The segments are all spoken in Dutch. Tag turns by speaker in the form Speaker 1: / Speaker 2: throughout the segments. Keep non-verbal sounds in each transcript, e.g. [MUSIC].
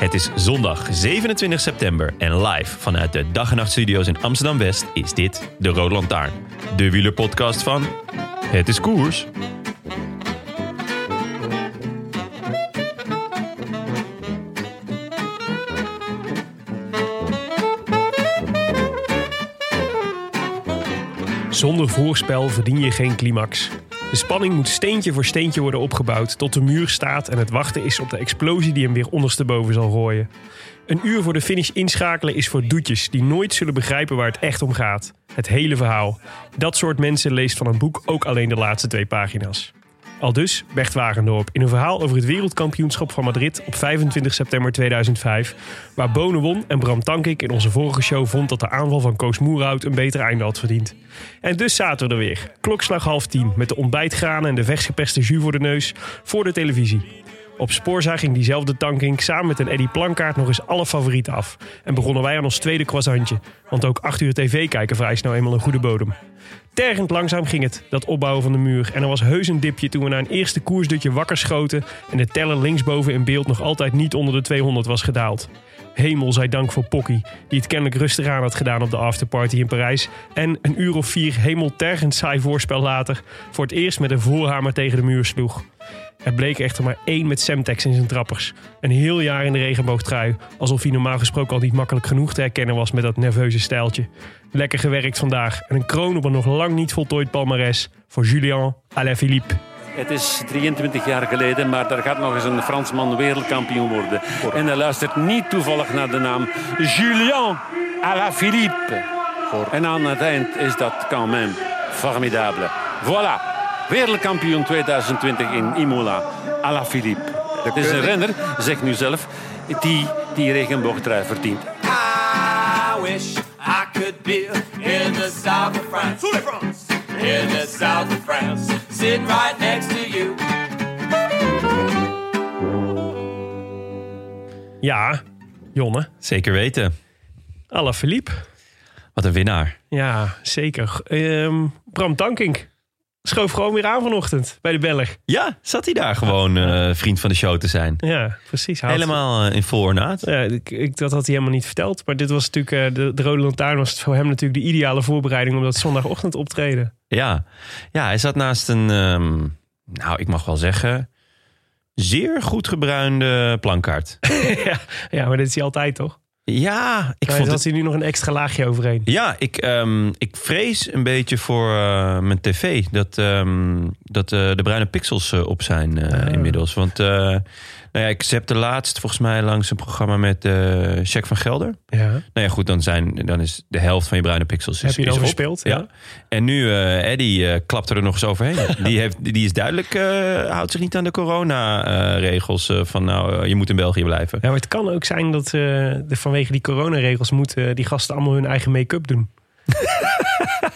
Speaker 1: Het is zondag 27 september en live vanuit de Dag en Nacht Studio's in Amsterdam West is dit de Rode Lantaarn. De wielerpodcast van Het is Koers.
Speaker 2: Zonder voorspel verdien je geen climax. De spanning moet steentje voor steentje worden opgebouwd tot de muur staat en het wachten is op de explosie die hem weer ondersteboven zal gooien. Een uur voor de finish inschakelen is voor doetjes die nooit zullen begrijpen waar het echt om gaat. Het hele verhaal. Dat soort mensen leest van een boek ook alleen de laatste twee pagina's. Al dus Bert Wagendorp in een verhaal over het wereldkampioenschap van Madrid op 25 september 2005. Waar Bonen won en Bram Tankink in onze vorige show vond dat de aanval van Koos Moerhout een beter einde had verdiend. En dus zaten we er weer. Klokslag half tien met de ontbijtgranen en de vechtgepeste jus voor de neus voor de televisie. Op Spoorza ging diezelfde Tankink samen met een Eddy Plankaart nog eens alle favorieten af. En begonnen wij aan ons tweede croissantje. Want ook 8 uur tv kijken vereist nou eenmaal een goede bodem. Tergend langzaam ging het, dat opbouwen van de muur. En er was heus een dipje toen we na een eerste koersdutje wakker schoten... en de teller linksboven in beeld nog altijd niet onder de 200 was gedaald. Hemel zij dank voor Pocky, die het kennelijk rustig aan had gedaan op de afterparty in Parijs. En een uur of vier hemeltergend saai voorspel later... voor het eerst met een voorhamer tegen de muur sloeg. Er bleek echter maar één met Semtex in zijn trappers. Een heel jaar in de regenboogtrui. Alsof hij normaal gesproken al niet makkelijk genoeg te herkennen was met dat nerveuze stijltje. Lekker gewerkt vandaag. En een kroon op een nog lang niet voltooid palmares voor Julien Alaphilippe.
Speaker 3: Het is 23 jaar geleden, maar daar gaat nog eens een Fransman wereldkampioen worden. En hij luistert niet toevallig naar de naam Julien Alaphilippe. En aan het eind is dat quand même formidable. Voilà, wereldkampioen 2020 in Imola, Alaphilippe. Het is een renner, zeg nu zelf, die die regenboogtrui verdient.
Speaker 4: I wish I could be in the south of France. In the south of France. Sitting right next to you.
Speaker 2: Ja, Jonne.
Speaker 1: Zeker weten.
Speaker 2: Alaphilippe.
Speaker 1: Wat een winnaar.
Speaker 2: Ja, zeker. Ehm, Bram Tankink schoof gewoon weer aan vanochtend bij de Belg.
Speaker 1: Ja, zat hij daar gewoon eh, vriend van de show te zijn.
Speaker 2: Ja, precies. Hij had-
Speaker 1: Helemaal eh, in vol ornaat.
Speaker 2: Ja, ik, ik- dat had hij helemaal niet verteld. Maar dit was natuurlijk, eh, de, de Rode Lantaarn was voor hem natuurlijk de ideale voorbereiding om dat zondagochtend optreden.
Speaker 1: Ja, ja hij zat naast een, ehm, nou ik mag wel zeggen, zeer goed gebruinde plankaart.
Speaker 2: Ja, maar dit is hij altijd toch?
Speaker 1: Ja, ik
Speaker 2: maar
Speaker 1: vond
Speaker 2: had
Speaker 1: het...
Speaker 2: hij nu nog een extra laagje overheen.
Speaker 1: Ja, ik, ehm, ik vrees een beetje voor eh, mijn tv dat, ehm, dat eh, de bruine pixels eh, op zijn eh, inmiddels. Want eh, nou ja, ik zepte laatst volgens mij langs een programma met eh Jack van Gelder.
Speaker 2: Ja.
Speaker 1: Nou ja, goed, dan, zijn, dan is de helft van je bruine pixels is,
Speaker 2: Heb je
Speaker 1: is
Speaker 2: dan
Speaker 1: op.
Speaker 2: verspeeld?
Speaker 1: Ja. En nu, eh Eddie eh, klapt er nog eens
Speaker 2: [LAUGHS]
Speaker 1: overheen. die, heeft, die is duidelijk, eh, houdt zich niet aan de corona-regels. van nou, eh, je moet in België blijven.
Speaker 2: Ja, maar het kan ook zijn dat eh, de, vanwege die coronaregels moeten eh, die gasten allemaal hun eigen make-up
Speaker 1: [LAUGHS]
Speaker 2: doen.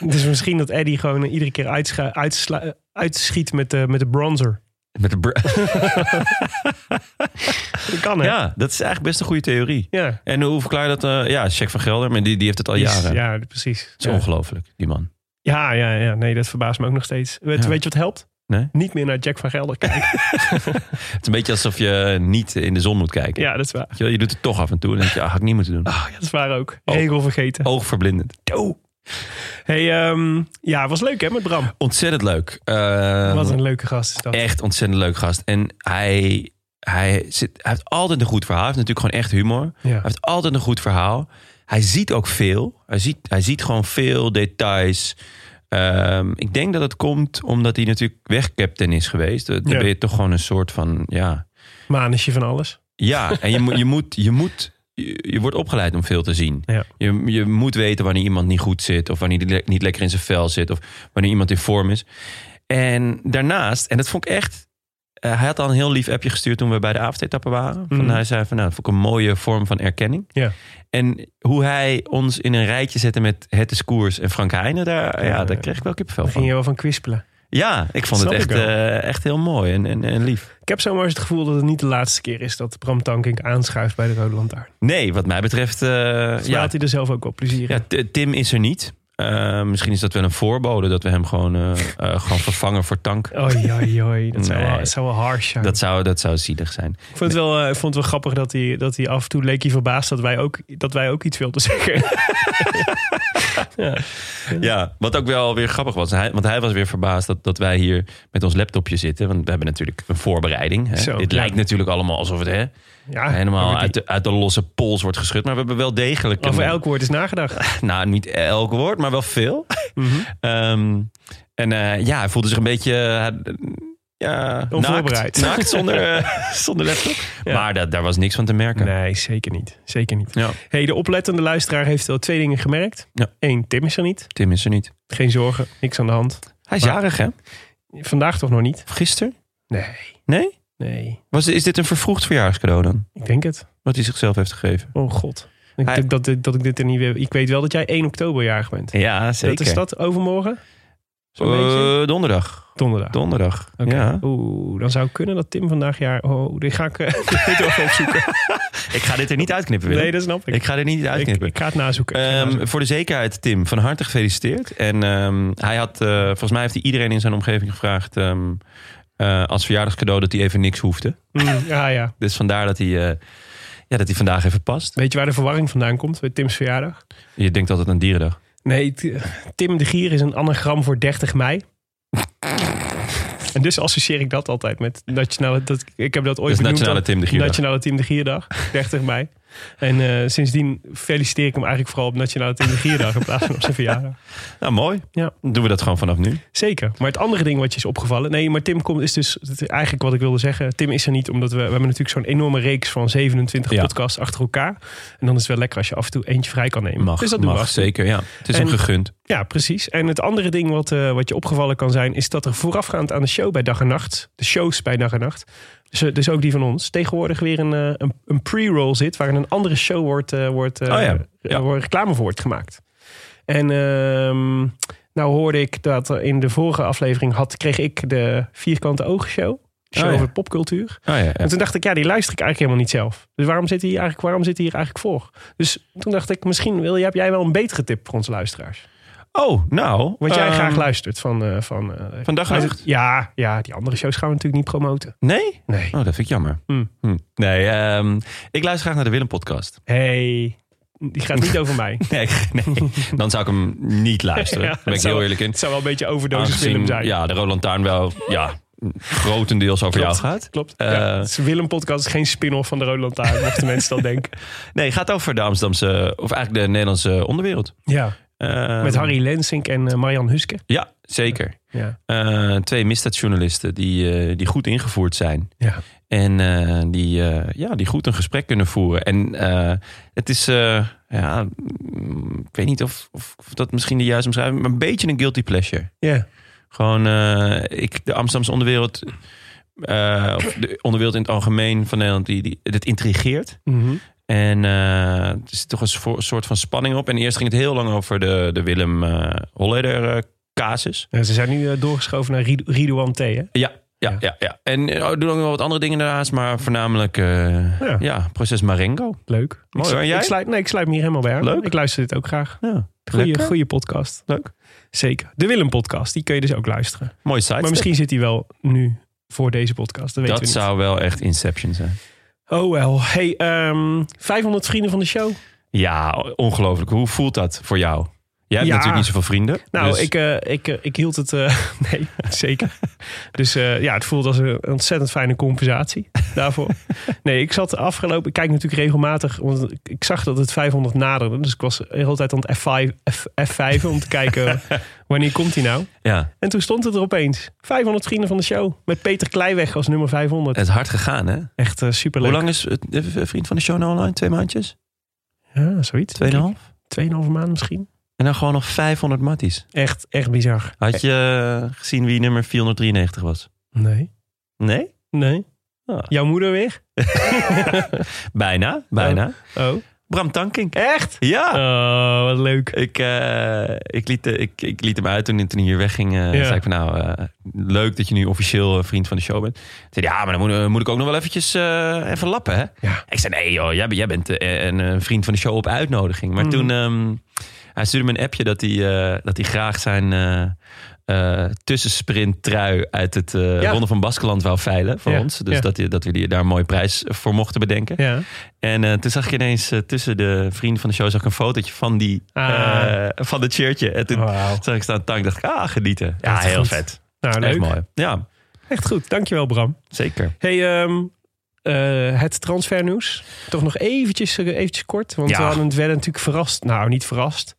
Speaker 2: dus misschien dat Eddie gewoon eh, iedere keer uitscha- uitsla- eh, uitschiet met de, met de bronzer.
Speaker 1: Met de br-
Speaker 2: Dat kan hè?
Speaker 1: [LAUGHS] ja, dat is eigenlijk best een goede theorie.
Speaker 2: ja.
Speaker 1: En hoe verklaar je dat? eh, ja, Jack van Gelder, maar die, die heeft het al jaren. Het
Speaker 2: Ja, precies.
Speaker 1: is
Speaker 2: Ja.
Speaker 1: ongelooflijk, die man.
Speaker 2: Ja, ja, ja. Nee, dat verbaast me ook nog steeds. Weet,
Speaker 1: Ja.
Speaker 2: weet je wat helpt?
Speaker 1: Nee?
Speaker 2: Niet meer naar Jack van
Speaker 1: [LAUGHS]
Speaker 2: Gelder kijken.
Speaker 1: Het is een beetje alsof je niet in de zon moet kijken.
Speaker 2: ja, dat is waar.
Speaker 1: Weet Je, wel, je doet het toch af en toe. En dan denk je, ah, had ik niet moeten doen.
Speaker 2: Ja, dat is waar ook.
Speaker 1: Oh.
Speaker 2: Regel vergeten.
Speaker 1: Oogverblindend.
Speaker 2: Hey, ehm, ja, was leuk hè met Bram.
Speaker 1: Ontzettend leuk. Eh,
Speaker 2: Wat een leuke gast is dat.
Speaker 1: Echt ontzettend leuk gast. En hij hij, zit, hij heeft altijd een goed verhaal. Hij heeft natuurlijk gewoon echt humor.
Speaker 2: Ja.
Speaker 1: Hij heeft altijd een goed verhaal. Hij ziet ook veel. Hij ziet, hij ziet gewoon veel details. Ehm, ik denk dat het komt omdat hij natuurlijk wegcaptain is geweest. Dan
Speaker 2: Ja.
Speaker 1: ben je toch gewoon een soort van, ja...
Speaker 2: Manusje van alles.
Speaker 1: Ja, en je, moet- je moet... Je moet je je wordt opgeleid om veel te zien.
Speaker 2: Ja.
Speaker 1: Je, je moet weten wanneer iemand niet goed zit. Of wanneer die le- niet lekker in zijn vel zit. Of wanneer iemand in vorm is. En daarnaast, en dat vond ik echt. eh, hij had al een heel lief appje gestuurd toen we bij de avondetappen waren. Van,
Speaker 2: Mhm.
Speaker 1: Hij zei van nou, dat vond ik een mooie vorm van erkenning.
Speaker 2: Ja.
Speaker 1: En hoe hij ons in een rijtje zette met Het is Koers en Frank Heijnen. Daar, ja, daar kreeg ik wel kippenvel
Speaker 2: Daar ging je
Speaker 1: van.
Speaker 2: wel van kwispelen.
Speaker 1: Ja, ik vond het
Speaker 2: Snap
Speaker 1: echt,
Speaker 2: ik wel.
Speaker 1: eh, echt heel mooi en, en, en lief.
Speaker 2: Ik heb zomaar eens het gevoel dat het niet de laatste keer is dat Bram Tankink aanschuift bij de Rode Lantaarn.
Speaker 1: Nee, wat mij betreft... eh,
Speaker 2: Ja.
Speaker 1: ja,
Speaker 2: Laat hij er zelf ook wel plezier in.
Speaker 1: Ja, T- Tim is er niet. Eh, misschien is dat wel een voorbode dat we hem gewoon eh, eh, gaan vervangen voor tank.
Speaker 2: Oei, oei, oei. Dat zou,
Speaker 1: Nee.
Speaker 2: wel, het zou wel harsh zijn.
Speaker 1: Dat zou, dat zou zielig zijn.
Speaker 2: Ik vond het wel, eh, ik vond het wel grappig dat hij, dat hij af en toe leek hij verbaasd dat wij ook, dat wij ook iets wilden
Speaker 1: [LAUGHS]
Speaker 2: zeggen.
Speaker 1: Ja, wat ook wel weer grappig was. Hij, want hij was weer verbaasd dat, dat wij hier met ons laptopje zitten. Want we hebben natuurlijk een voorbereiding. Hè.
Speaker 2: Zo,
Speaker 1: Dit
Speaker 2: ja. Ah,
Speaker 1: lijkt natuurlijk allemaal alsof het hè,
Speaker 2: Ja,
Speaker 1: helemaal
Speaker 2: maar die-
Speaker 1: uit de, uit de losse pols wordt geschud. Maar we hebben wel degelijk...
Speaker 2: Over
Speaker 1: een-
Speaker 2: elk woord is nagedacht.
Speaker 1: [LAUGHS] Nou, niet elk woord, maar wel
Speaker 2: [LAUGHS]
Speaker 1: veel.
Speaker 2: Mhm.
Speaker 1: Ehm, en eh, ja, hij voelde zich een beetje... eh, ja,
Speaker 2: Onvoorbereid.
Speaker 1: Naakt, naakt
Speaker 2: [LAUGHS]
Speaker 1: zonder, eh, zonder laptop.
Speaker 2: Ja.
Speaker 1: Maar dat, daar was niks van te merken.
Speaker 2: Nee, zeker niet. Zeker niet.
Speaker 1: Ja.
Speaker 2: Hey, de oplettende luisteraar heeft wel twee dingen gemerkt.
Speaker 1: Ja.
Speaker 2: Eén, Tim is er niet.
Speaker 1: Tim is er niet.
Speaker 2: Geen zorgen, niks aan de hand.
Speaker 1: Hij is
Speaker 2: Maar-
Speaker 1: jarig, hè?
Speaker 2: Vandaag toch nog niet?
Speaker 1: Gisteren?
Speaker 2: Nee.
Speaker 1: Nee?
Speaker 2: Nee.
Speaker 1: Was, is dit een vervroegd verjaarscadeau dan?
Speaker 2: Ik denk het.
Speaker 1: Wat hij zichzelf heeft gegeven?
Speaker 2: Oh god. Ik
Speaker 1: Hij-
Speaker 2: denk dat, dit- dat ik dit er niet weer... Ik weet wel dat jij 1 oktober jarig bent.
Speaker 1: Ja, zeker.
Speaker 2: Dat is dat overmorgen? Zo'n
Speaker 1: Eh,
Speaker 2: beetje?
Speaker 1: donderdag.
Speaker 2: Donderdag.
Speaker 1: Donderdag.
Speaker 2: Oké.
Speaker 1: Ja.
Speaker 2: Oeh, dan zou het kunnen dat Tim vandaag jaar... Oh, dit ga ik eh,
Speaker 1: [LAUGHS]
Speaker 2: dit wel even opzoeken.
Speaker 1: Ik ga dit er niet uitknippen, Willem.
Speaker 2: Nee, dat snap ik.
Speaker 1: Ik ga dit niet
Speaker 2: ik,
Speaker 1: uitknippen.
Speaker 2: ik ga het nazoeken. Ik ga het
Speaker 1: Ehm,
Speaker 2: nazoeken.
Speaker 1: voor de zekerheid, Tim, van harte gefeliciteerd. En ehm, hij had, eh, volgens mij heeft hij iedereen in zijn omgeving gevraagd... ehm, eh, als verjaardagscadeau dat hij even niks hoefde.
Speaker 2: Mm,
Speaker 1: [LAUGHS]
Speaker 2: ja, ja.
Speaker 1: Dus vandaar dat hij, eh, ja, dat hij vandaag even past.
Speaker 2: Weet je waar de verwarring vandaan komt bij Tim's verjaardag?
Speaker 1: Je denkt altijd aan dierendag.
Speaker 2: Nee, t- Tim de Gier is een anagram voor 30 mei. En dus associeer ik dat altijd met nationale. Dat, ik heb dat ooit
Speaker 1: Dat is
Speaker 2: benoemd
Speaker 1: Nationale
Speaker 2: dan-
Speaker 1: Tim de Gierdag.
Speaker 2: Nationale Tim de Gierdag, 30 mei. En eh, sindsdien feliciteer ik hem eigenlijk vooral op Nationale Tim de Gierdag in plaats van op zijn verjaardag.
Speaker 1: Nou, mooi.
Speaker 2: Ja.
Speaker 1: Dan doen we dat gewoon vanaf nu.
Speaker 2: Zeker. Maar het andere ding wat je is opgevallen. Nee, maar Tim komt, is dus dat is eigenlijk wat ik wilde zeggen. Tim is er niet, omdat we, we hebben natuurlijk zo'n enorme reeks van 27
Speaker 1: Ja.
Speaker 2: podcasts achter elkaar. En dan is het wel lekker als je af en toe eentje vrij kan nemen.
Speaker 1: Mag,
Speaker 2: dus dat doen we
Speaker 1: mag
Speaker 2: af en toe.
Speaker 1: zeker. Ja. Het is Oh,
Speaker 2: En-
Speaker 1: hem gegund.
Speaker 2: Ja, precies. En het andere ding wat, eh, wat je opgevallen kan zijn, is dat er voorafgaand aan de show bij dag en nacht, de shows bij dag en nacht, dus, eh, dus ook die van ons, tegenwoordig weer een, eh, een, een pre-roll zit waarin een andere show wordt, eh, wordt eh,
Speaker 1: Oh ja,
Speaker 2: eh,
Speaker 1: ja.
Speaker 2: wordt reclame voor wordt gemaakt. En ehm, nou hoorde ik dat er in de vorige aflevering had, kreeg ik de vierkante ogen show. Show
Speaker 1: Oh ja.
Speaker 2: over popcultuur.
Speaker 1: Oh, ja, ja.
Speaker 2: En toen dacht ik, ja, die luister ik eigenlijk helemaal niet zelf. Dus waarom zit hij hier eigenlijk, waarom zit hij hier eigenlijk voor? Dus toen dacht ik, misschien wil, heb jij wel een betere tip voor onze luisteraars.
Speaker 1: Oh, nou.
Speaker 2: Want jij
Speaker 1: ehm,
Speaker 2: graag luistert van... eh, van eh,
Speaker 1: Vandaag
Speaker 2: luister-
Speaker 1: echt?
Speaker 2: Ja, ja, die andere shows gaan we natuurlijk niet promoten.
Speaker 1: Nee?
Speaker 2: Nee.
Speaker 1: Oh, dat vind ik jammer.
Speaker 2: Hmm.
Speaker 1: Hmm. Nee, ehm, ik luister graag naar de Willem-podcast. [LAUGHS]
Speaker 2: Hey, die gaat niet over [LAUGHS] mij.
Speaker 1: Nee, nee, dan zou ik hem niet luisteren.
Speaker 2: [LAUGHS] Ja,
Speaker 1: Daar ben ik
Speaker 2: het zou-
Speaker 1: heel eerlijk in.
Speaker 2: Het zou wel een beetje overdosis
Speaker 1: Aangezien,
Speaker 2: Willem zijn.
Speaker 1: Ja, de Roland Taarn wel ja, grotendeels over jou gaat.
Speaker 2: Klopt.
Speaker 1: Eh,
Speaker 2: ja, het is Willem podcast is geen spin-off van de Rode Lantaarn, [LAUGHS] mochten mensen dat denken.
Speaker 1: Nee, gaat over de Amsterdamse, of eigenlijk de Nederlandse onderwereld.
Speaker 2: Ja,
Speaker 1: Ehm,
Speaker 2: met Harry Lensink en eh, Marian Huske.
Speaker 1: Ja, zeker.
Speaker 2: Ja.
Speaker 1: Eh, twee misdaadjournalisten die, eh, die goed ingevoerd zijn.
Speaker 2: Ja.
Speaker 1: En eh, die, eh, ja, die goed een gesprek kunnen voeren. En eh, het is, eh, ja, mm, ik weet niet of, of dat misschien de juiste omschrijving maar een beetje een guilty pleasure.
Speaker 2: ja.
Speaker 1: Gewoon, eh, ik, de Amsterdamse onderwereld, eh, of de onderwereld in het algemeen van Nederland, die, die, het intrigeert.
Speaker 2: Mhm.
Speaker 1: En eh, er zit toch een soort- soort van spanning op. En eerst ging het heel lang over de, de Willem eh Holleder eh, casus.
Speaker 2: Ja, ze zijn nu eh, doorgeschoven naar Rid- Ridouan T. Hè?
Speaker 1: Ja, ja,
Speaker 2: Ja.
Speaker 1: ja. ja, En eh, doen ook nog wel wat andere dingen daarnaast, maar voornamelijk eh,
Speaker 2: Ja.
Speaker 1: ja. proces Marengo.
Speaker 2: Leuk.
Speaker 1: Mooi,
Speaker 2: ik,
Speaker 1: hoor. En jij?
Speaker 2: Ik sluit, nee, ik sluit me hier helemaal bij aan.
Speaker 1: Leuk.
Speaker 2: Ik luister dit ook graag.
Speaker 1: Ja,
Speaker 2: Goeie,
Speaker 1: lekker.
Speaker 2: goeie podcast.
Speaker 1: Leuk.
Speaker 2: Zeker. De Willem podcast, die kun je dus ook luisteren.
Speaker 1: Mooi site.
Speaker 2: Maar misschien zit hij wel nu voor deze podcast. Dat weten
Speaker 1: dat
Speaker 2: we niet.
Speaker 1: zou wel echt Inception zijn.
Speaker 2: Oh wel. Hey, ehm, 500 vrienden van de show.
Speaker 1: Ja, ongelooflijk. Hoe voelt dat voor jou? Jij hebt
Speaker 2: Ja.
Speaker 1: natuurlijk niet zoveel vrienden.
Speaker 2: Nou,
Speaker 1: dus-
Speaker 2: ik, eh, ik, eh, ik hield het. eh, [LAUGHS] nee, zeker. Dus eh, ja, het voelde als een ontzettend fijne compensatie [LAUGHS] daarvoor. Nee, ik zat afgelopen. Ik kijk natuurlijk regelmatig. Want ik zag dat het 500 naderde. Dus ik was de hele tijd aan het F5, F, F5 om te
Speaker 1: [LAUGHS]
Speaker 2: kijken wanneer komt hij nou.
Speaker 1: Ja,
Speaker 2: En toen stond het er opeens. 500 vrienden van de show. Met Peter Kleiweg als nummer 500.
Speaker 1: het is hard gegaan, hè?
Speaker 2: Echt super superleuk.
Speaker 1: Eh, Hoe lang is het, eh, vriend van de show nou online? Twee maandjes?
Speaker 2: Ja, Ah, zoiets.
Speaker 1: Tweeënhalf?
Speaker 2: Tweeënhalve maand misschien.
Speaker 1: En dan gewoon nog 500 matties.
Speaker 2: Echt, echt bizar.
Speaker 1: Had je eh, gezien wie nummer 493 was?
Speaker 2: Nee.
Speaker 1: Nee?
Speaker 2: Nee.
Speaker 1: Ah.
Speaker 2: Jouw moeder weer?
Speaker 1: Bijna, bijna.
Speaker 2: Oh.
Speaker 1: Bram Tankink. Echt? Nou. Ja.
Speaker 2: Oh, wat leuk.
Speaker 1: Ik, eh, ik, liet, eh, ik, ik liet hem uit toen, toen hij hier wegging. eh
Speaker 2: Ja.
Speaker 1: zei ik van nou, eh, leuk dat je nu officieel eh, vriend van de show bent. Toen zei hij, ja, maar dan moet, eh, moet ik ook nog wel eventjes eh, even lappen, hè?
Speaker 2: Ja.
Speaker 1: Ik zei, nee joh, jij, bent- jij bent eh, een, eh, vriend van de show op uitnodiging.
Speaker 2: Mm.
Speaker 1: Maar toen, ehm, hij stuurde me een appje dat hij, eh, dat hij graag zijn... eh tussensprint trui uit het eh,
Speaker 2: Ja.
Speaker 1: Ronde van Baskeland wou veilen voor
Speaker 2: Ja,
Speaker 1: ons. Dus
Speaker 2: ja.
Speaker 1: dat, hij- dat we die, daar een mooie prijs voor mochten bedenken.
Speaker 2: Ja.
Speaker 1: En eh, toen zag ik ineens eh, tussen de vrienden van de show zag ik een fotootje van die
Speaker 2: Ah.
Speaker 1: eh, van dat shirtje. En toen
Speaker 2: Wauw.
Speaker 1: zag ik staan tank dacht ik, ah, genieten. Ja,
Speaker 2: Echt
Speaker 1: heel
Speaker 2: goed.
Speaker 1: vet.
Speaker 2: Nou, leuk.
Speaker 1: Echt mooi. Ja,
Speaker 2: Echt goed. Dankjewel, Bram.
Speaker 1: zeker.
Speaker 2: Hey, ehm, eh, het transfernieuws. Toch nog eventjes, eh, eventjes kort. Want
Speaker 1: Ja.
Speaker 2: we hadden het werden natuurlijk verrast. Nou, niet verrast.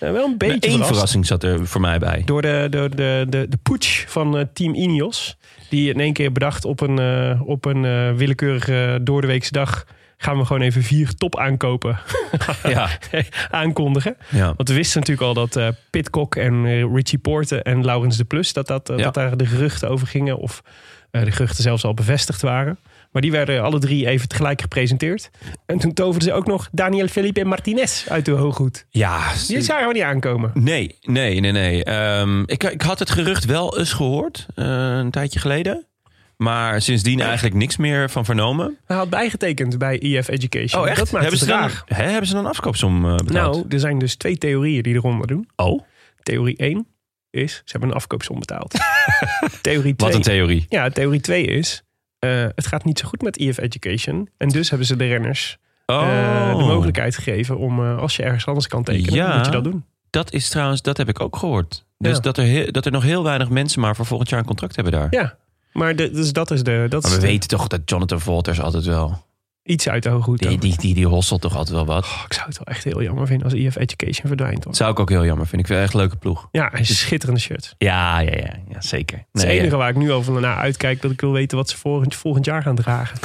Speaker 2: Eh, wel een beetje
Speaker 1: Eén
Speaker 2: verrast.
Speaker 1: verrassing zat er voor mij bij.
Speaker 2: Door de, de, de, de, de putsch van eh, Team Ineos. Die in één keer bedacht op een, eh, op een eh, willekeurige doordeweekse dag... gaan we gewoon even vier top aankopen
Speaker 1: [LAUGHS] Ja,
Speaker 2: [LAUGHS] aankondigen.
Speaker 1: ja.
Speaker 2: Want we wisten natuurlijk al dat eh Pitcock en eh, Richie Poorten en Laurens de Plus... Dat, dat, eh,
Speaker 1: Ja.
Speaker 2: dat daar de geruchten over gingen. Of eh, de geruchten zelfs al bevestigd waren. Maar die werden alle drie even tegelijk gepresenteerd. En toen toverden ze ook nog Daniel Felipe en Martinez uit de hooghoed.
Speaker 1: ja.
Speaker 2: Die zagen we niet aankomen.
Speaker 1: Nee, nee, nee, nee. Ehm, ik, ik had het gerucht wel eens gehoord, eh, een tijdje geleden. Maar sindsdien eigenlijk niks meer van vernomen.
Speaker 2: Hij had bijgetekend bij EF Education. Dat maakt
Speaker 1: Oh, Hebben
Speaker 2: het
Speaker 1: ze, dan,
Speaker 2: raar.
Speaker 1: hè, hebben ze dan een afkoopsom eh, betaald?
Speaker 2: Nou, er zijn dus twee theorieën die eronder doen.
Speaker 1: oh,
Speaker 2: Theorie 1 is, ze hebben een afkoopsom
Speaker 1: [LAUGHS]
Speaker 2: betaald. theorie 2.
Speaker 1: wat een theorie.
Speaker 2: ja, theorie 2 is, eh, het gaat niet zo goed met EF Education. En dus hebben ze de renners
Speaker 1: Oh.
Speaker 2: eh, de mogelijkheid gegeven om, eh, als je ergens anders kan tekenen,
Speaker 1: Ja.
Speaker 2: moet je dat doen.
Speaker 1: Dat is trouwens, dat heb ik ook gehoord. Dus
Speaker 2: Ja.
Speaker 1: dat, er heel- dat er nog heel weinig mensen maar voor volgend jaar een contract hebben daar.
Speaker 2: Ja, maar de- dus dat is, de, dat
Speaker 1: maar
Speaker 2: is
Speaker 1: we
Speaker 2: de-
Speaker 1: weten toch dat Jonathan Volters altijd wel...
Speaker 2: iets uit de hooghoed.
Speaker 1: Die,
Speaker 2: ook.
Speaker 1: die, die, die hosselt toch altijd wel wat.
Speaker 2: Oh, ik zou het wel echt heel jammer vinden als EF Education verdwijnt. Hoor.
Speaker 1: Dat zou ik ook heel jammer vinden. Ik vind het echt een leuke ploeg.
Speaker 2: Ja, een schitterende shirt.
Speaker 1: Ja, ja, ja, ja zeker.
Speaker 2: Het is
Speaker 1: Nee,
Speaker 2: het enige
Speaker 1: ja.
Speaker 2: waar ik nu over naar uitkijk, dat ik wil weten wat ze volgend, volgend jaar gaan dragen.
Speaker 1: [LAUGHS]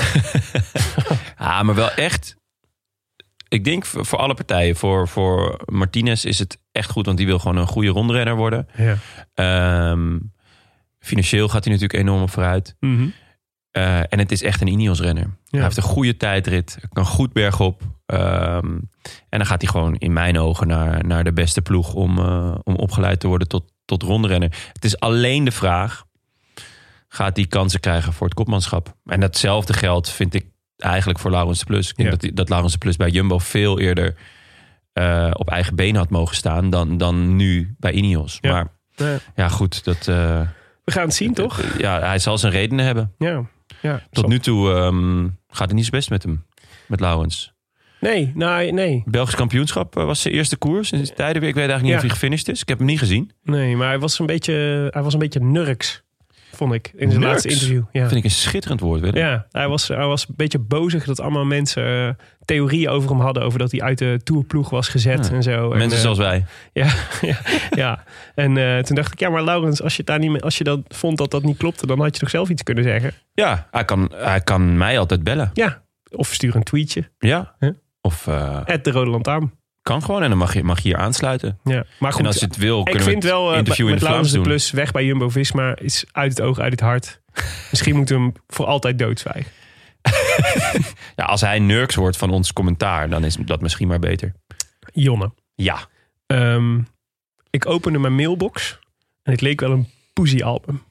Speaker 1: Ah, maar wel echt... Ik denk voor, voor alle partijen. Voor, voor Martinez is het echt goed, want die wil gewoon een goede rondrenner worden.
Speaker 2: Ja.
Speaker 1: Ehm, financieel gaat hij natuurlijk enorm op vooruit.
Speaker 2: Mhm.
Speaker 1: Eh, en het is echt een Ineos-renner. Hij heeft een goede tijdrit, kan goed bergop. Ehm, en dan gaat hij gewoon in mijn ogen naar, naar de beste ploeg om, eh, om opgeleid te worden tot, tot rondrenner. Het is alleen de vraag, gaat hij kansen krijgen voor het kopmanschap? En datzelfde geldt, vind ik, eigenlijk voor Laurens de Plus. Ik denk
Speaker 2: Ja.
Speaker 1: dat, die- dat Laurens de Plus bij Jumbo veel eerder eh, op eigen been had mogen staan dan, dan nu bij Ineos.
Speaker 2: Ja.
Speaker 1: Maar
Speaker 2: Ja.
Speaker 1: ja, goed, dat, eh,
Speaker 2: We gaan het zien, toch?
Speaker 1: ja, hij zal zijn redenen hebben.
Speaker 2: Ja. ja
Speaker 1: Tot
Speaker 2: Zo.
Speaker 1: nu toe ehm, gaat het niet zo best met hem, met Lauwens.
Speaker 2: Nee, nee, nee.
Speaker 1: Belgisch kampioenschap eh, was zijn eerste koers sinds tijden weer. Ik weet eigenlijk niet
Speaker 2: Ja.
Speaker 1: of hij gefinished is. Ik heb hem niet gezien.
Speaker 2: Nee, maar hij was een beetje, hij was een beetje nurks, vond ik, in zijn
Speaker 1: Nurks?
Speaker 2: laatste interview. Ja.
Speaker 1: Vind ik een schitterend woord, Willem.
Speaker 2: Ja, hij was, hij was een beetje bozig dat allemaal mensen eh, theorieën over hem hadden. Over dat hij uit de tourploeg was gezet
Speaker 1: Ja.
Speaker 2: en zo. en,
Speaker 1: Mensen
Speaker 2: eh,
Speaker 1: zoals wij.
Speaker 2: Ja, ja, ja. En eh, toen dacht ik, ja, maar Laurens, als je, het daar niet, mee- als je dat vond dat dat niet klopte, dan had je toch zelf iets kunnen zeggen?
Speaker 1: Ja, hij kan, hij kan mij altijd bellen.
Speaker 2: Ja. Of stuur een tweetje.
Speaker 1: Ja.
Speaker 2: Huh?
Speaker 1: Of eh,
Speaker 2: At de Rode Lantaarn.
Speaker 1: kan gewoon en dan mag je, mag je hier aansluiten.
Speaker 2: Ja. Maar goed,
Speaker 1: en als je het wil,
Speaker 2: Ik
Speaker 1: kunnen we
Speaker 2: vind
Speaker 1: het
Speaker 2: wel, eh,
Speaker 1: interview
Speaker 2: met
Speaker 1: in de
Speaker 2: Laurens
Speaker 1: Vlaams
Speaker 2: de
Speaker 1: doen.
Speaker 2: Plus weg bij Jumbo Visma is uit het oog, uit het hart. Misschien moeten we hem voor altijd doodzwijgen.
Speaker 1: Ja, als hij nurks wordt van ons commentaar, dan is dat misschien maar beter.
Speaker 2: Jonne.
Speaker 1: Ja.
Speaker 2: ehm, ik opende mijn mailbox en het leek wel een
Speaker 1: [LAUGHS]
Speaker 2: poesiealbum.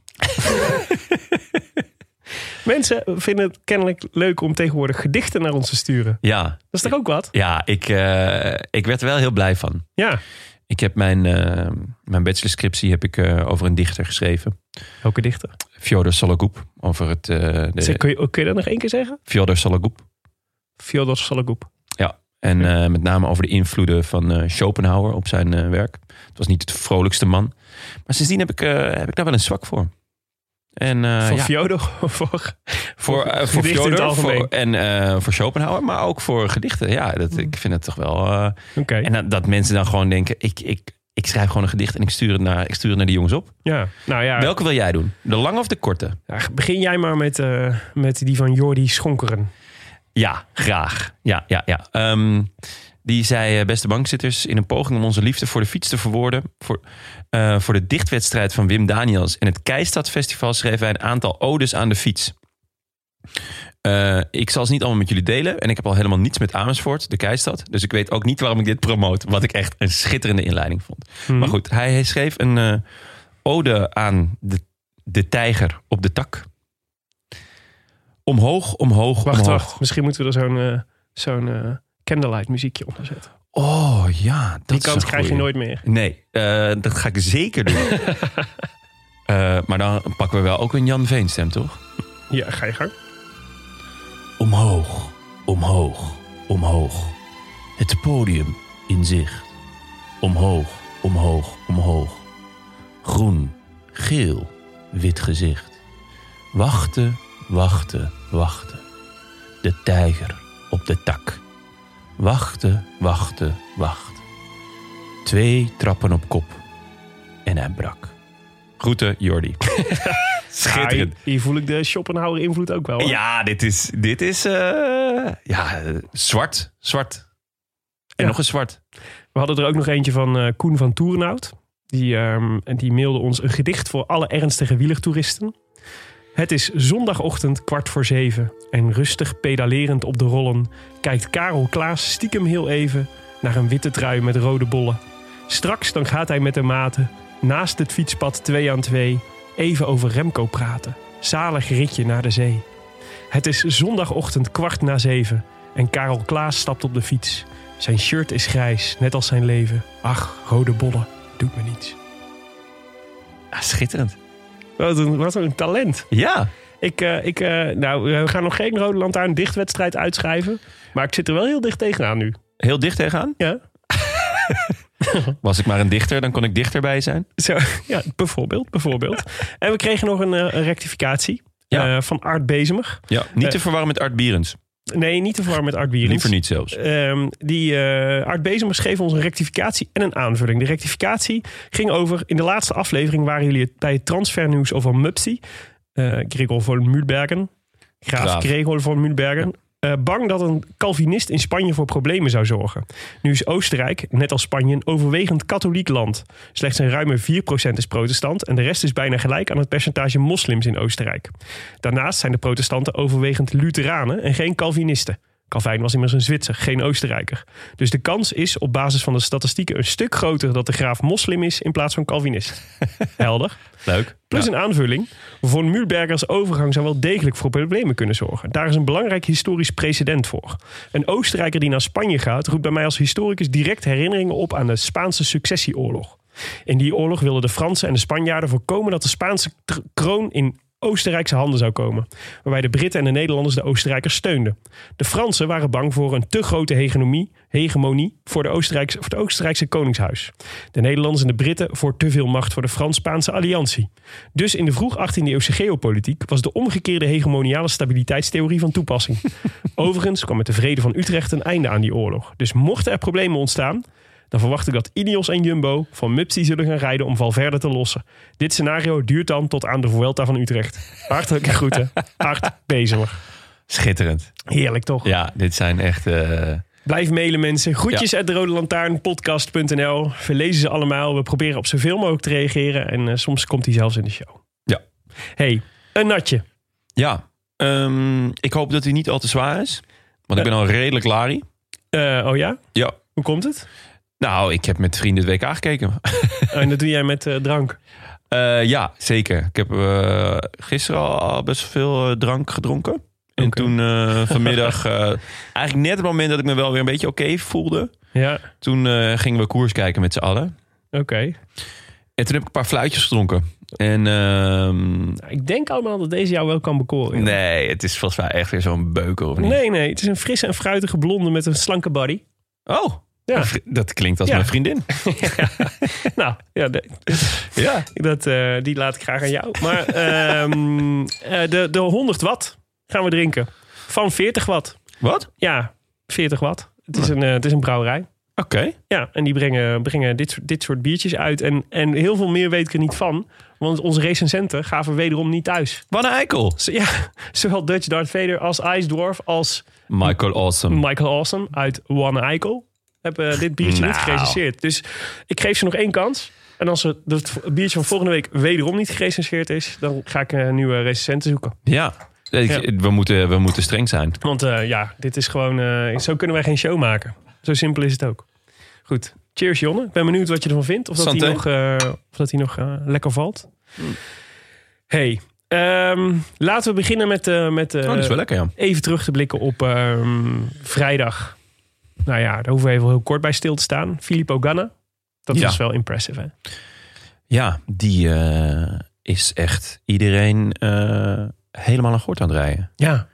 Speaker 2: Mensen vinden het kennelijk leuk om tegenwoordig gedichten naar ons te sturen.
Speaker 1: Ja,
Speaker 2: Dat is toch ook wat?
Speaker 1: ja ik, eh, ik werd er wel heel blij van.
Speaker 2: Ja.
Speaker 1: Ik heb mijn, eh mijn bachelorscriptie heb ik, eh, over een dichter geschreven.
Speaker 2: Welke dichter?
Speaker 1: Fjodor Sologoep. Over het, eh de,
Speaker 2: Zeg, kun, je, kun je dat nog één keer zeggen?
Speaker 1: Fjodor Sologoep.
Speaker 2: Fyodor Sologoep.
Speaker 1: En eh, met name over de invloeden van eh, Schopenhauer op zijn eh, werk. Het was niet het vrolijkste man. Maar sindsdien heb ik, eh, heb ik daar wel een zwak voor. En, eh,
Speaker 2: Van
Speaker 1: ja,
Speaker 2: Fyodor [LAUGHS] voor
Speaker 1: voor, eh, voor
Speaker 2: gedichten in het
Speaker 1: Fjodor
Speaker 2: algemeen. Hmm.
Speaker 1: voor, en eh, voor Schopenhauer, maar ook voor gedichten. Ja, dat, ik vind het toch wel... eh,
Speaker 2: Oké.
Speaker 1: en dat, dat mensen dan gewoon denken, ik, ik, ik schrijf gewoon een gedicht en ik stuur het naar, ik stuur het naar die jongens op.
Speaker 2: Ja. Nou ja,
Speaker 1: Welke wil jij doen? De lange of de korte?
Speaker 2: ja, begin jij maar met, eh, met die van Jordi Schonkeren.
Speaker 1: Ja, graag. Ja, ja, ja. Ehm, die zei, eh, beste bankzitters, in een poging om onze liefde voor de fiets te verwoorden... voor, eh, voor de dichtwedstrijd van Wim Daniels en het Keistad Festival... schreven wij een aantal odes aan de fiets. Eh, ik zal ze niet allemaal met jullie delen. En ik heb al helemaal niets met Amersfoort, de Keistad. Dus ik weet ook niet waarom ik dit promoot. Wat ik echt een schitterende inleiding vond.
Speaker 2: Mhm.
Speaker 1: Maar goed, hij schreef een eh, ode aan de, de tijger op de tak. Omhoog, omhoog,
Speaker 2: Wacht,
Speaker 1: omhoog.
Speaker 2: wacht. Misschien moeten we er zo'n eh, zo'n eh, candlelight muziekje onder zetten.
Speaker 1: Oh ja, dat
Speaker 2: Die
Speaker 1: is
Speaker 2: kans
Speaker 1: een
Speaker 2: krijg je
Speaker 1: goeie.
Speaker 2: nooit meer.
Speaker 1: Nee, eh, dat ga ik zeker doen.
Speaker 2: [LAUGHS]
Speaker 1: Eh, maar dan pakken we wel ook een Jan Veenstem, toch?
Speaker 2: Ja, ga je gang.
Speaker 1: Omhoog, omhoog, omhoog. Het podium in zicht. Omhoog, omhoog, omhoog. Groen, geel, wit gezicht. Wachten, wachten, wachten. De tijger op de tak. Wachten, wachten, wachten. Twee trappen op kop. En hij brak. Groeten, Jordi. Schitterend.
Speaker 2: Ah, hier, hier voel ik de Schopenhauer invloed ook wel. hoor.
Speaker 1: Ja, dit is, dit is eh, ja, eh, zwart. Zwart. En
Speaker 2: Ja.
Speaker 1: nog eens zwart.
Speaker 2: We hadden er ook nog eentje van eh, Koen van Toerenhout. Die, ehm, en die mailde ons een gedicht voor alle ernstige wielertoeristen. Het is zondagochtend kwart voor zeven. En rustig pedalerend op de rollen kijkt Karel Klaas stiekem heel even naar een witte trui met rode bollen. Straks dan gaat hij met de maten naast het fietspad twee aan twee even over Remco praten. Zalig ritje naar de zee. Het is zondagochtend kwart na zeven en Karel Klaas stapt op de fiets. Zijn shirt is grijs, net als zijn leven. Ach, rode bollen, doet me niets.
Speaker 1: Ja, schitterend.
Speaker 2: Wat een, wat een talent.
Speaker 1: Ja.
Speaker 2: Ik, eh, ik, eh, nou, we gaan nog geen Rode Lantaarn dichtwedstrijd uitschrijven. Maar ik zit er wel heel dicht tegenaan nu.
Speaker 1: Heel dicht tegenaan.
Speaker 2: Ja,
Speaker 1: Was ik maar een dichter, dan kon ik dichterbij zijn.
Speaker 2: zo, [LAUGHS] ja bijvoorbeeld, bijvoorbeeld. En we kregen nog een, eh, een rectificatie
Speaker 1: Ja.
Speaker 2: eh, van Art Bezemig.
Speaker 1: Ja. Niet
Speaker 2: Eh.
Speaker 1: te verwarren met Art Bierens.
Speaker 2: Nee, niet te verwarren met Art Bierens.
Speaker 1: Liever niet zelfs.
Speaker 2: Ehm, die eh Art Bezemers schreef ons een rectificatie en een aanvulling. De rectificatie ging over, in de laatste aflevering waren jullie het- bij het transfernieuws over Mupsi. eh Gregor van Muurbergen. Graaf,
Speaker 1: Graaf.
Speaker 2: Gregor van Muurbergen. eh, bang dat een Calvinist in Spanje voor problemen zou zorgen. Nu is Oostenrijk, net als Spanje, een overwegend katholiek land. Slechts een ruime 4% is protestant en de rest is bijna gelijk aan het percentage moslims in Oostenrijk. Daarnaast zijn de protestanten overwegend Lutheranen en geen Calvinisten. Calvijn was immers een Zwitser, geen Oostenrijker. Dus de kans is op basis van de statistieken een stuk groter dat de graaf moslim is in plaats van Calvinist. Helder.
Speaker 1: Leuk.
Speaker 2: Plus
Speaker 1: Ja.
Speaker 2: een aanvulling. Voor Muurbergers overgang zou wel degelijk voor problemen kunnen zorgen. Daar is een belangrijk historisch precedent voor. Een Oostenrijker die naar Spanje gaat, roept bij mij als historicus direct herinneringen op aan de Spaanse successieoorlog. In die oorlog wilden de Fransen en de Spanjaarden voorkomen dat de Spaanse tr- kroon in Oostenrijkse handen zou komen. Waarbij de Britten en de Nederlanders de Oostenrijkers steunden. De Fransen waren bang voor een te grote hegemonie, hegemonie voor, de Oostenrijkse, voor het Oostenrijkse Koningshuis. De Nederlanders en de Britten voor te veel macht voor de Frans-Spaanse alliantie. Dus in de vroeg 18e eeuwse geopolitiek was de omgekeerde hegemoniale stabiliteitstheorie van toepassing. Overigens kwam met de Vrede van Utrecht een einde aan die oorlog. Dus mochten er problemen ontstaan, dan verwacht ik dat Ineos en Jumbo van Mupsi zullen gaan rijden om Valverde te lossen. Dit scenario duurt dan tot aan de Vuelta van Utrecht. Hartelijke
Speaker 1: [LAUGHS]
Speaker 2: groeten. Hart bezig.
Speaker 1: Schitterend.
Speaker 2: Heerlijk toch?
Speaker 1: Ja, dit zijn echt... eh,
Speaker 2: Blijf mailen mensen. Groetjes uit de Rode Lantaarn, podcast.nl. We lezen ze allemaal. We proberen op zoveel mogelijk te reageren. En eh, soms komt hij zelfs in de show.
Speaker 1: Ja.
Speaker 2: hey, een natje.
Speaker 1: ja. Ehm, ik hoop dat hij niet al te zwaar is. Want ik ben al redelijk lari.
Speaker 2: Eh, oh ja?
Speaker 1: Ja.
Speaker 2: Hoe komt het?
Speaker 1: [LAUGHS] Nou, ik heb met vrienden het WK gekeken.
Speaker 2: Oh, en dat doe jij met eh, drank.
Speaker 1: Eh, ja, zeker. Ik heb eh, gisteren al best veel eh, drank gedronken. En
Speaker 2: Oké.
Speaker 1: toen eh, vanmiddag, eh, eigenlijk net op het moment dat ik me wel weer een beetje oké voelde,
Speaker 2: Ja,
Speaker 1: toen eh, gingen we koers kijken met z'n allen.
Speaker 2: oké.
Speaker 1: En toen heb ik een paar fluitjes gedronken. En ehm,
Speaker 2: Nou, Ik denk allemaal dat deze jou wel kan bekoren.
Speaker 1: nee, het is volgens mij echt weer zo'n beuker of niet?
Speaker 2: nee, nee. Het is een frisse en fruitige blonde met een slanke body.
Speaker 1: Oh,
Speaker 2: Ja.
Speaker 1: Dat klinkt als
Speaker 2: Ja.
Speaker 1: mijn vriendin.
Speaker 2: [LAUGHS] nou, ja, de-
Speaker 1: Ja.
Speaker 2: [LAUGHS] dat, eh, die laat ik graag aan jou. Maar ehm, eh, de, de 100 watt gaan we drinken. Van 40 watt.
Speaker 1: Wat?
Speaker 2: Ja, 40 watt. Het is een, eh, het is een brouwerij.
Speaker 1: Oké.
Speaker 2: Ja, en die brengen, brengen dit, soort- dit soort biertjes uit. En, en heel veel meer weet ik er niet van. Want onze recensenten gaven wederom niet thuis.
Speaker 1: Wat een eikel.
Speaker 2: Z- ja, [LAUGHS] zowel Dutch Darth Vader als Ice Dwarf als
Speaker 1: Michael Awesome.
Speaker 2: Michael Awesome uit One Eikel hebben dit biertje niet
Speaker 1: Nou.
Speaker 2: gerecenseerd. Dus ik geef ze nog één kans. En als het, het biertje van volgende week wederom niet gerecenseerd is, dan ga ik een nieuwe recensenten zoeken.
Speaker 1: Ja. Ik-
Speaker 2: Ja.
Speaker 1: We, moeten, we moeten streng zijn.
Speaker 2: Want eh, ja, dit is gewoon. eh, zo kunnen wij geen show maken. Zo simpel is het ook. Goed. Cheers, Jonne. Ik ben benieuwd wat je ervan vindt. Of dat hij
Speaker 1: Santé. Hmm.
Speaker 2: nog, eh, of dat hij nog eh, lekker valt. Hey, ehm, laten we beginnen met. eh, met eh,
Speaker 1: Oh, dat is wel lekker, ja.
Speaker 2: even terug te blikken op ehm, vrijdag. Nou ja, daar hoeven we even heel kort bij stil te staan. Filippo Ganna. Dat
Speaker 1: Ja.
Speaker 2: was wel impressive, hè?
Speaker 1: Ja, die eh, is echt iedereen eh, helemaal een gort aan het rijden.
Speaker 2: Ja.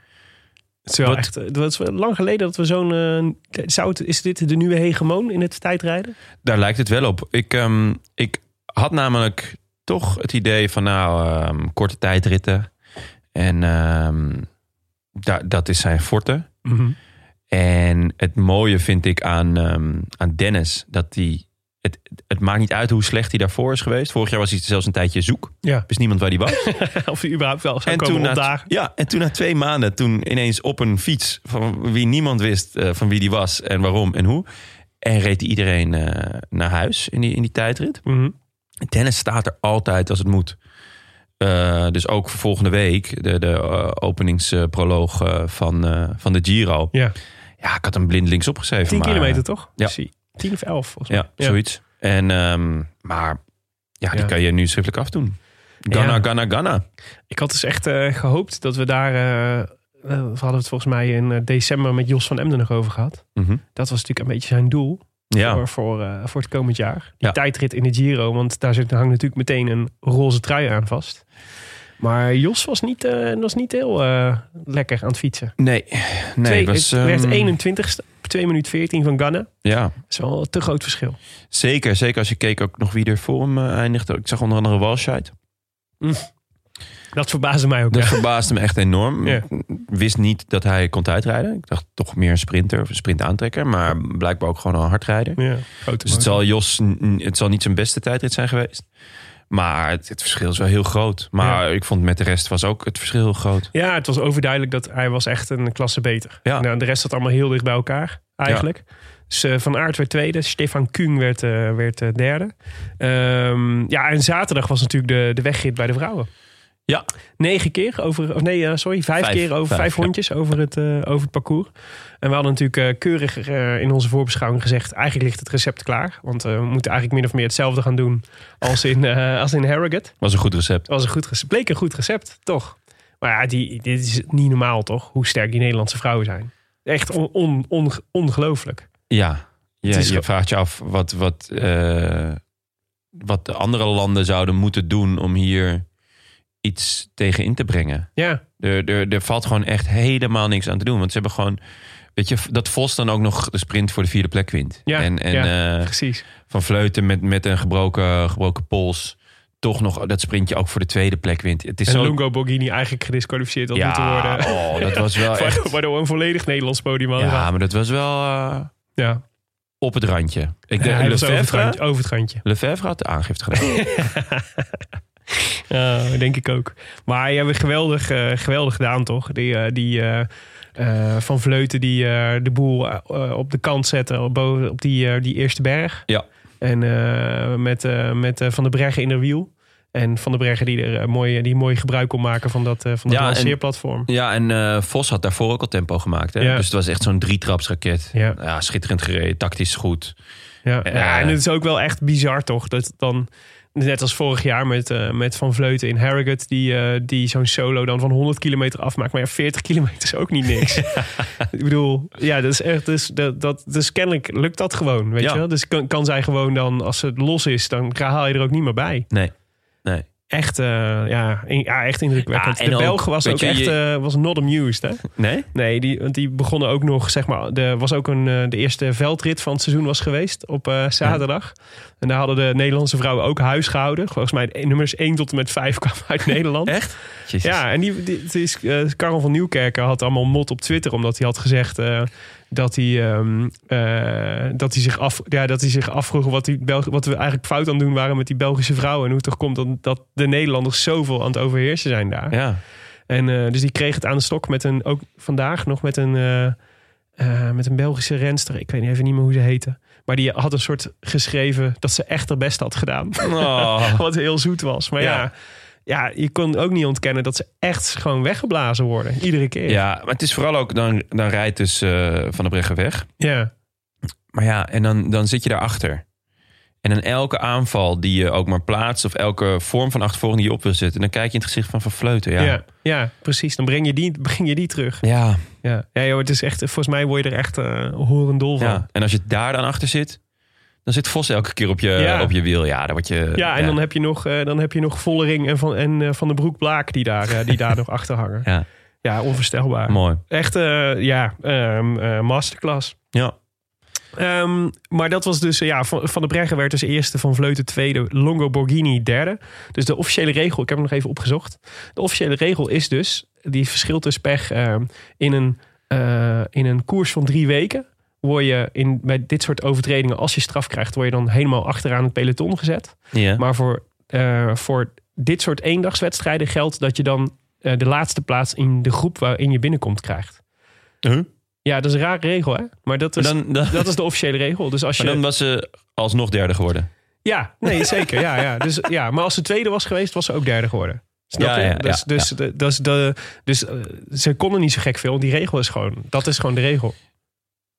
Speaker 2: Het is wel
Speaker 1: Wat-
Speaker 2: echt, eh, dat is wel lang geleden dat we zo'n... eh, zou het- is dit de nieuwe hegemoon in het tijdrijden?
Speaker 1: Daar lijkt het wel op. Ik, ehm, ik had namelijk toch het idee van nou, ehm, korte tijdritten. En ehm, da- dat is zijn forte. En het mooie vind ik aan, ehm, aan Dennis dat hij. Het, het maakt niet uit hoe slecht hij daarvoor is geweest. Vorig jaar was hij zelfs een tijdje zoek.
Speaker 2: Ja.
Speaker 1: Wist niemand waar hij was.
Speaker 2: [LAUGHS] Of hij überhaupt wel zou
Speaker 1: en,
Speaker 2: komen
Speaker 1: toen na,
Speaker 2: opdagen.
Speaker 1: ja, en toen na twee maanden, toen ineens op een fiets van wie niemand wist eh, van wie die was en waarom en hoe. En reed hij iedereen eh, naar huis in die, in die tijdrit.
Speaker 2: Mhm.
Speaker 1: Dennis staat er altijd als het moet. Eh, dus ook voor volgende week, de, de eh, openingsproloog eh, van, eh, van de Giro.
Speaker 2: Ja.
Speaker 1: Ja, ik had hem blind links opgeschreven.
Speaker 2: 10
Speaker 1: maar, eh,
Speaker 2: kilometer, toch?
Speaker 1: ja.
Speaker 2: Zie. 10 of 11, volgens mij.
Speaker 1: Ja, zoiets. En, ehm, maar ja, die
Speaker 2: Ja.
Speaker 1: kan je nu schriftelijk afdoen. Ganna,
Speaker 2: Ja.
Speaker 1: ganna, ganna.
Speaker 2: Ik had dus echt eh, gehoopt dat we daar... eh, eh, we hadden het volgens mij in eh, december met Jos van Emden nog over gehad.
Speaker 1: Mhm.
Speaker 2: Dat was natuurlijk een beetje zijn doel.
Speaker 1: Ja,
Speaker 2: voor, voor, eh, voor het komend jaar. Die
Speaker 1: Ja.
Speaker 2: tijdrit in de Giro, want daar zit, hangt natuurlijk meteen een roze trui aan vast. Maar Jos was niet, eh, was niet heel eh, lekker aan het fietsen.
Speaker 1: nee. nee
Speaker 2: Twee-
Speaker 1: was,
Speaker 2: het werd
Speaker 1: ehm,
Speaker 2: 21ste, 2 minuut 14 van Ganna. Dat
Speaker 1: Ja,
Speaker 2: is wel een te groot verschil.
Speaker 1: zeker. Zeker als je keek ook nog wie er voor hem eh, eindigde. Ik zag onder andere Walscheid.
Speaker 2: Dat verbaasde mij ook.
Speaker 1: Dat
Speaker 2: ja.
Speaker 1: verbaasde me echt enorm.
Speaker 2: Ja.
Speaker 1: Ik wist niet dat hij kon tijdrijden. Ik dacht toch meer een sprinter of een sprintaantrekker. Maar blijkbaar ook gewoon een hardrijder.
Speaker 2: Ja, grote
Speaker 1: Dus het
Speaker 2: motor.
Speaker 1: zal, Jos, n- het zal niet zijn beste tijdrit zijn geweest. Maar het, het verschil is wel heel groot. Maar ik vond met de rest was ook het verschil heel groot.
Speaker 2: Ja, het was overduidelijk dat hij was echt een klasse beter.
Speaker 1: Ja.
Speaker 2: Nou, de rest zat allemaal heel dicht bij elkaar, eigenlijk. Dus eh, Van Aert werd tweede, Stefan Kuhn werd, eh, werd eh, derde. Ehm, ja, en zaterdag was natuurlijk de, de wegrit bij de vrouwen.
Speaker 1: Ja.
Speaker 2: Negen keer over, of nee, eh, sorry, vijf,
Speaker 1: Vijf,
Speaker 2: keer over vijf,
Speaker 1: vijf, ja.
Speaker 2: rondjes over, het, eh, over het parcours. En we hadden natuurlijk eh, keurig eh, in onze voorbeschouwing gezegd, eigenlijk ligt het recept klaar. Want eh, we moeten eigenlijk min of meer hetzelfde gaan doen als in, eh, als in Harrogate.
Speaker 1: Was een goed recept.
Speaker 2: Het was een goed recept. Bleek een goed recept, toch? Maar ja, die, dit is niet normaal, toch? Hoe sterk die Nederlandse vrouwen zijn. Echt on, on, on- ongelooflijk.
Speaker 1: Ja, je,
Speaker 2: is
Speaker 1: je
Speaker 2: ge-
Speaker 1: vraagt je af wat, wat, eh, wat de andere landen zouden moeten doen om hier iets tegen in te brengen.
Speaker 2: Ja,
Speaker 1: Er, er, er valt gewoon echt helemaal niks aan te doen. Want ze hebben gewoon, weet je, dat Vos dan ook nog de sprint voor de vierde plek wint.
Speaker 2: Ja,
Speaker 1: en en eh,
Speaker 2: precies.
Speaker 1: Van Vleuten met, met een gebroken, gebroken pols toch nog dat sprintje ook voor de tweede plek wint. Het is
Speaker 2: En
Speaker 1: zo...
Speaker 2: Lungo Borghini eigenlijk gedisqualificeerd had moeten
Speaker 1: ja,
Speaker 2: worden.
Speaker 1: oh, dat was
Speaker 2: [LAUGHS]
Speaker 1: wel
Speaker 2: Wa-
Speaker 1: echt...
Speaker 2: Waardoor we een volledig Nederlands podium hadden.
Speaker 1: Ja, maar dat was wel eh,
Speaker 2: Ja.
Speaker 1: op het randje. Ik denk,
Speaker 2: Ja, hij was over het
Speaker 1: Lefevre,
Speaker 2: randje. Over het randje.
Speaker 1: Lefevre had de aangifte gedaan.
Speaker 2: Ja, denk ik ook. Maar ja, we geweldig, eh, geweldig gedaan, toch? Die, eh, die eh, eh, Van Vleuten die eh, de boel eh, eh, op de kant zette op, boven, op die, eh, die eerste berg.
Speaker 1: Ja.
Speaker 2: En eh, met, eh, met eh, Van der Breggen in de wiel. En Van der Breggen die er eh, mooi, die mooi gebruik kon maken van dat, eh, van dat
Speaker 1: Ja, en-
Speaker 2: lanceerplatform.
Speaker 1: [LAUGHS] Ja, en eh, Vos had daarvoor ook al tempo gemaakt. Hè?
Speaker 2: Ja.
Speaker 1: Dus het was echt zo'n drietrapsraket.
Speaker 2: Ja.
Speaker 1: Ja. schitterend gereden, tactisch goed.
Speaker 2: Ja.
Speaker 1: Eh.
Speaker 2: ja, en het is ook wel echt bizar, toch? Dat dan, net als vorig jaar met, eh, met Van Vleuten in Harrogate, die, eh, die zo'n solo dan van 100 kilometer afmaakt. Maar ja, 40 kilometer is ook niet
Speaker 1: [LAUGHS]
Speaker 2: niks. Ik bedoel, ja, dat is echt, dus, dat, dat, dus kennelijk lukt dat gewoon, weet
Speaker 1: Ja.
Speaker 2: je wel? Dus kan, kan zij gewoon dan, als het los is, dan haal je er ook niet meer bij.
Speaker 1: Nee, nee.
Speaker 2: echt, eh, ja, in- ja, echt indrukwekkend.
Speaker 1: Ja, en
Speaker 2: de
Speaker 1: ook,
Speaker 2: Belg was
Speaker 1: weet
Speaker 2: ook
Speaker 1: je,
Speaker 2: echt
Speaker 1: je-
Speaker 2: eh, was not amused, hè?
Speaker 1: Nee?
Speaker 2: Nee, die, want die begonnen ook nog, zeg maar, er was ook een, eh, de eerste veldrit van het seizoen was geweest op eh, zaterdag. En daar hadden de Nederlandse vrouwen ook huis gehouden. Volgens mij de nummers 1 tot en met 5 [LAUGHS] kwamen uit Nederland.
Speaker 1: Echt? Jezus.
Speaker 2: Ja, en die, die, het is, eh, Karel van Nieuwkerken had allemaal mot op Twitter. Omdat hij had gezegd eh, dat, hij, ehm, eh, dat, hij zich af, ja, dat hij zich afvroeg wat, die Belg- wat we eigenlijk fout aan het doen waren met die Belgische vrouwen. En hoe het toch komt dat, dat de Nederlanders zoveel aan het overheersen zijn daar.
Speaker 1: Ja.
Speaker 2: En eh, dus die kreeg het aan de stok met een, ook vandaag nog met een, eh, eh, met een Belgische renster. Ik weet even niet meer hoe ze heette. Maar die had een soort geschreven dat ze echt haar best had gedaan.
Speaker 1: [LAUGHS]
Speaker 2: [LAUGHS]
Speaker 1: Oh.
Speaker 2: Wat heel zoet was. Maar ja.
Speaker 1: Ja.
Speaker 2: ja. je kon ook niet ontkennen dat ze echt gewoon weggeblazen worden. Iedere keer.
Speaker 1: ja, maar het is vooral ook, dan, dan rijdt dus eh, Van der Breggen weg.
Speaker 2: Ja.
Speaker 1: Maar ja, en dan, dan zit je daarachter. En dan elke aanval die je ook maar plaatst... of elke vorm van achtervolging die je op wil zetten... dan kijk je in het gezicht van Van Vleuten.
Speaker 2: Ja.
Speaker 1: Ja,
Speaker 2: Ja, precies. Dan breng je die, breng je die terug.
Speaker 1: ja.
Speaker 2: Ja, ja joh, het is echt, volgens mij word je er echt eh horendol van.
Speaker 1: Ja, en als je daar dan achter zit, dan zit Vos elke keer op je,
Speaker 2: Ja.
Speaker 1: op je wiel. Ja, dan word je.
Speaker 2: Ja, en Dan, heb je nog, eh, dan heb je nog Vollering en Van, en, eh, van de Broek Blaak die daar, eh, die
Speaker 1: [LAUGHS]
Speaker 2: daar nog achter hangen.
Speaker 1: Ja.
Speaker 2: Ja, onvoorstelbaar.
Speaker 1: Mooi.
Speaker 2: Echt, eh, ja, ehm, eh, masterclass.
Speaker 1: Ja.
Speaker 2: Ehm, maar dat was dus, eh, ja, Van, van der Breggen werd dus eerste, Van Vleuten tweede, Longo Borghini derde. Dus de officiële regel, ik heb hem nog even opgezocht. De officiële regel is dus, die verschilt dus pech ehm, in, een, eh, in een koers van drie weken. Word je in, bij dit soort overtredingen, als je straf krijgt, word je dan helemaal achteraan het peloton gezet.
Speaker 1: Ja.
Speaker 2: Maar voor, eh, voor dit soort eendagswedstrijden geldt dat je dan eh, de laatste plaats in de groep waarin je binnenkomt krijgt.
Speaker 1: Huh? Dus
Speaker 2: Ja, dat is een rare regel, hè? Maar dat is,
Speaker 1: dan, dan,
Speaker 2: dat is de officiële regel. Dus als je.
Speaker 1: maar dan was ze alsnog derde geworden.
Speaker 2: Ja, nee, zeker. Ja, ja. Dus, ja, maar als ze tweede was geweest, was ze ook derde geworden. Snap
Speaker 1: Ja,
Speaker 2: je?
Speaker 1: ja, ja,
Speaker 2: dus dus, de- dat is de, dus eh, ze konden niet zo gek veel. want Die regel is gewoon. Dat is gewoon de regel.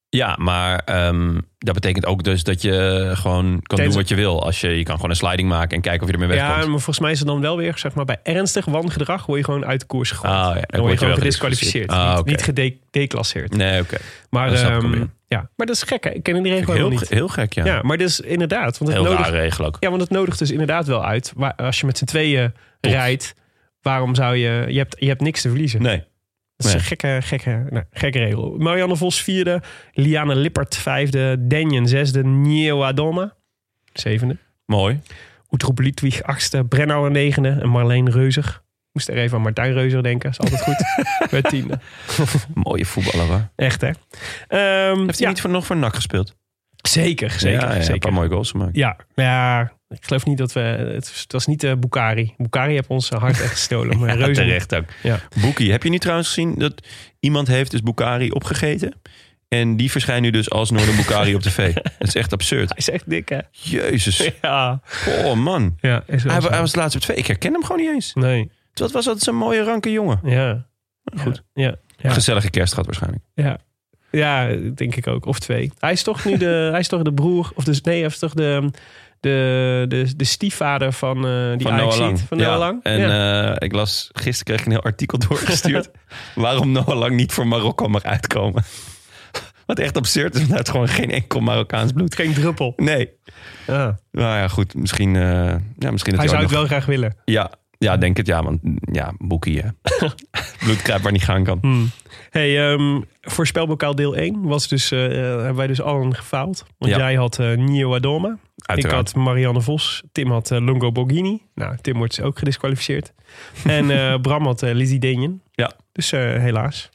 Speaker 1: Ja, maar ehm, dat betekent ook dus dat je gewoon kan doen wat je wil. Als je, je kan gewoon een sliding maken en kijken of je ermee
Speaker 2: Ja,
Speaker 1: wegkomt.
Speaker 2: maar volgens mij is het dan wel weer, zeg maar, bij ernstig wangedrag word je gewoon uit de koers gegooid.
Speaker 1: Ah, ja, dan
Speaker 2: dan word je gewoon gedisqualificeerd.
Speaker 1: Ah,
Speaker 2: Niet-
Speaker 1: oké.
Speaker 2: Niet gedeclasseerd.
Speaker 1: Nee, oké.
Speaker 2: Maar,
Speaker 1: Dat snap ik
Speaker 2: ehm,
Speaker 1: alweer.
Speaker 2: ja. maar dat is gek, hè? Ik ken die
Speaker 1: Heel,
Speaker 2: regel helemaal
Speaker 1: ge-
Speaker 2: niet.
Speaker 1: heel gek, ja.
Speaker 2: Ja, maar dat is inderdaad. Want het
Speaker 1: heel
Speaker 2: nodigt,
Speaker 1: raar regel ook.
Speaker 2: ja, want het nodigt dus inderdaad wel uit. Waar, als je met z'n tweeën rijdt, waarom zou je... Je hebt, je hebt niks te verliezen.
Speaker 1: Nee.
Speaker 2: Dat is
Speaker 1: nee.
Speaker 2: een gekke, gekke, nou, gekke regel. Marianne Vos vierde. Liane Lippert vijfde. Denjen zesde. Nieuw Adoma zevende.
Speaker 1: Mooi.
Speaker 2: Utroep Ludwig achtste. Brennauer negende. En Marleen Reuzer. Moest er even aan Martijn Reuzer denken. Is altijd
Speaker 1: [LAUGHS]
Speaker 2: goed. Werd tiende.
Speaker 1: Mooie voetballer, hoor.
Speaker 2: Echt, hè? Ehm,
Speaker 1: Heeft hij
Speaker 2: ja,
Speaker 1: niet voor, nog voor NAC gespeeld?
Speaker 2: zeker, zeker,
Speaker 1: ja, ja, Een
Speaker 2: zeker.
Speaker 1: paar mooie goals gemaakt.
Speaker 2: Ja, ja, ik geloof niet dat we. Het was- het was niet eh Bukari. Bukari heeft ons eh, hart echt
Speaker 1: [LAUGHS]
Speaker 2: gestolen. Maar
Speaker 1: Ja,
Speaker 2: reuze.
Speaker 1: terecht ook.
Speaker 2: Ja.
Speaker 1: Boekie, heb je niet trouwens gezien dat iemand heeft dus Bukari opgegeten? En die verschijnt nu dus als Noorden Bukari op
Speaker 2: [LAUGHS]
Speaker 1: tv. Dat is echt absurd.
Speaker 2: Hij [LAUGHS] is echt dik, hè?
Speaker 1: Jezus.
Speaker 2: Ja.
Speaker 1: Oh man.
Speaker 2: ja is wel
Speaker 1: Hij,
Speaker 2: zo.
Speaker 1: wa- hij was laatst op tv. Ik herken hem gewoon niet eens.
Speaker 2: Nee.
Speaker 1: Dat was altijd zo'n mooie, ranke jongen.
Speaker 2: Ja.
Speaker 1: Goed.
Speaker 2: Ja. Ja. Ja.
Speaker 1: Gezellige kerst gehad waarschijnlijk.
Speaker 2: ja. Ja, denk ik ook. Of twee. Hij is toch
Speaker 1: [LAUGHS]
Speaker 2: nu de, hij is toch de broer. Of dus, nee, hij is toch de, de, de, de stiefvader van eh die
Speaker 1: Van Noah
Speaker 2: Ajax
Speaker 1: Lang.
Speaker 2: Van
Speaker 1: Ja.
Speaker 2: Noah Lang.
Speaker 1: En
Speaker 2: ja.
Speaker 1: eh, ik las, gisteren kreeg ik een heel artikel
Speaker 2: [LAUGHS]
Speaker 1: doorgestuurd. waarom Noah Lang niet voor Marokko mag uitkomen. [LAUGHS] Wat echt absurd is, want hij heeft gewoon geen enkel Marokkaans bloed.
Speaker 2: Geen druppel.
Speaker 1: Nee.
Speaker 2: Ja.
Speaker 1: Nou ja, goed. Misschien, eh, ja, misschien dat
Speaker 2: Hij
Speaker 1: ook
Speaker 2: zou
Speaker 1: nog-
Speaker 2: het wel graag willen.
Speaker 1: Ja, ja, denk het ja, want ja, boekie. hè. [LAUGHS] Hmm. Bloedkruip waar niet gaan kan.
Speaker 2: Hey, ehm voorspelbokaal deel 1 was dus, eh, hebben wij dus allen gefaald. Want
Speaker 1: Ja.
Speaker 2: jij had eh Nio Adoma.
Speaker 1: Uiteraard.
Speaker 2: Ik had Marianne Vos. Tim had eh, Longo Borghini. Nou, Tim wordt ook gedisqualificeerd.
Speaker 1: [LAUGHS]
Speaker 2: en eh, Bram had eh, Lizzie Denjen.
Speaker 1: Ja.
Speaker 2: Dus eh, helaas.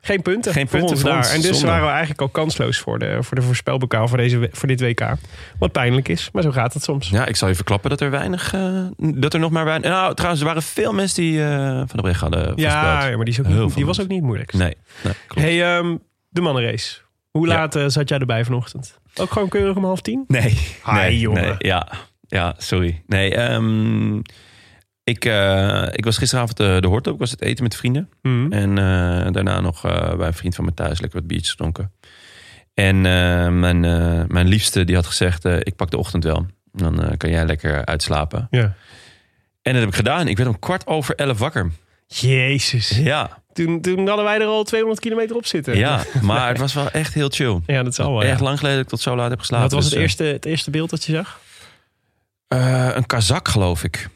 Speaker 2: Geen punten,
Speaker 1: Geen punten
Speaker 2: voor ons
Speaker 1: voor
Speaker 2: daar.
Speaker 1: ons,
Speaker 2: en dus
Speaker 1: zonde.
Speaker 2: waren we eigenlijk al kansloos voor de, voor de voorspelbokaal voor, deze, we- voor dit WK. Wat pijnlijk is, maar zo gaat het soms.
Speaker 1: Ja, ik zal je verklappen dat er weinig, eh, dat er nog maar weinig. Nou, trouwens, er waren veel mensen die eh, Van de Breg hadden
Speaker 2: Ja,
Speaker 1: voorspeld.
Speaker 2: maar die, is ook
Speaker 1: Heel
Speaker 2: niet,
Speaker 1: veel
Speaker 2: die was
Speaker 1: mensen.
Speaker 2: ook niet moeilijk.
Speaker 1: Nee, nee, klopt.
Speaker 2: Hey, ehm, de mannenrace. Hoe
Speaker 1: Ja.
Speaker 2: laat eh, zat jij erbij vanochtend? Ook gewoon keurig om half tien?
Speaker 1: Nee,
Speaker 2: Hi,
Speaker 1: nee,
Speaker 2: jongen.
Speaker 1: nee, ja, ja, sorry. Nee, ehm, ik, eh, ik was gisteravond eh, de hort op. Ik was het eten met vrienden.
Speaker 2: Mhm.
Speaker 1: En eh, daarna nog eh, bij een vriend van me thuis lekker wat biertjes gedronken. En eh, mijn, eh, mijn liefste die had gezegd, eh, ik pak de ochtend wel. Dan eh, kan jij lekker uitslapen.
Speaker 2: Ja.
Speaker 1: En dat heb ik gedaan. Ik werd om kwart over elf wakker.
Speaker 2: Jezus.
Speaker 1: Ja,
Speaker 2: Toen, toen hadden wij er al 200 kilometer op zitten.
Speaker 1: ja maar het was wel echt heel chill.
Speaker 2: Ja, dat zal wel. Oh, ja.
Speaker 1: Echt lang geleden dat ik tot zo laat heb geslapen.
Speaker 2: Wat was
Speaker 1: Dus,
Speaker 2: het eerste, het eerste beeld dat je zag? Mm.
Speaker 1: eh, eh, een kazak, geloof ik.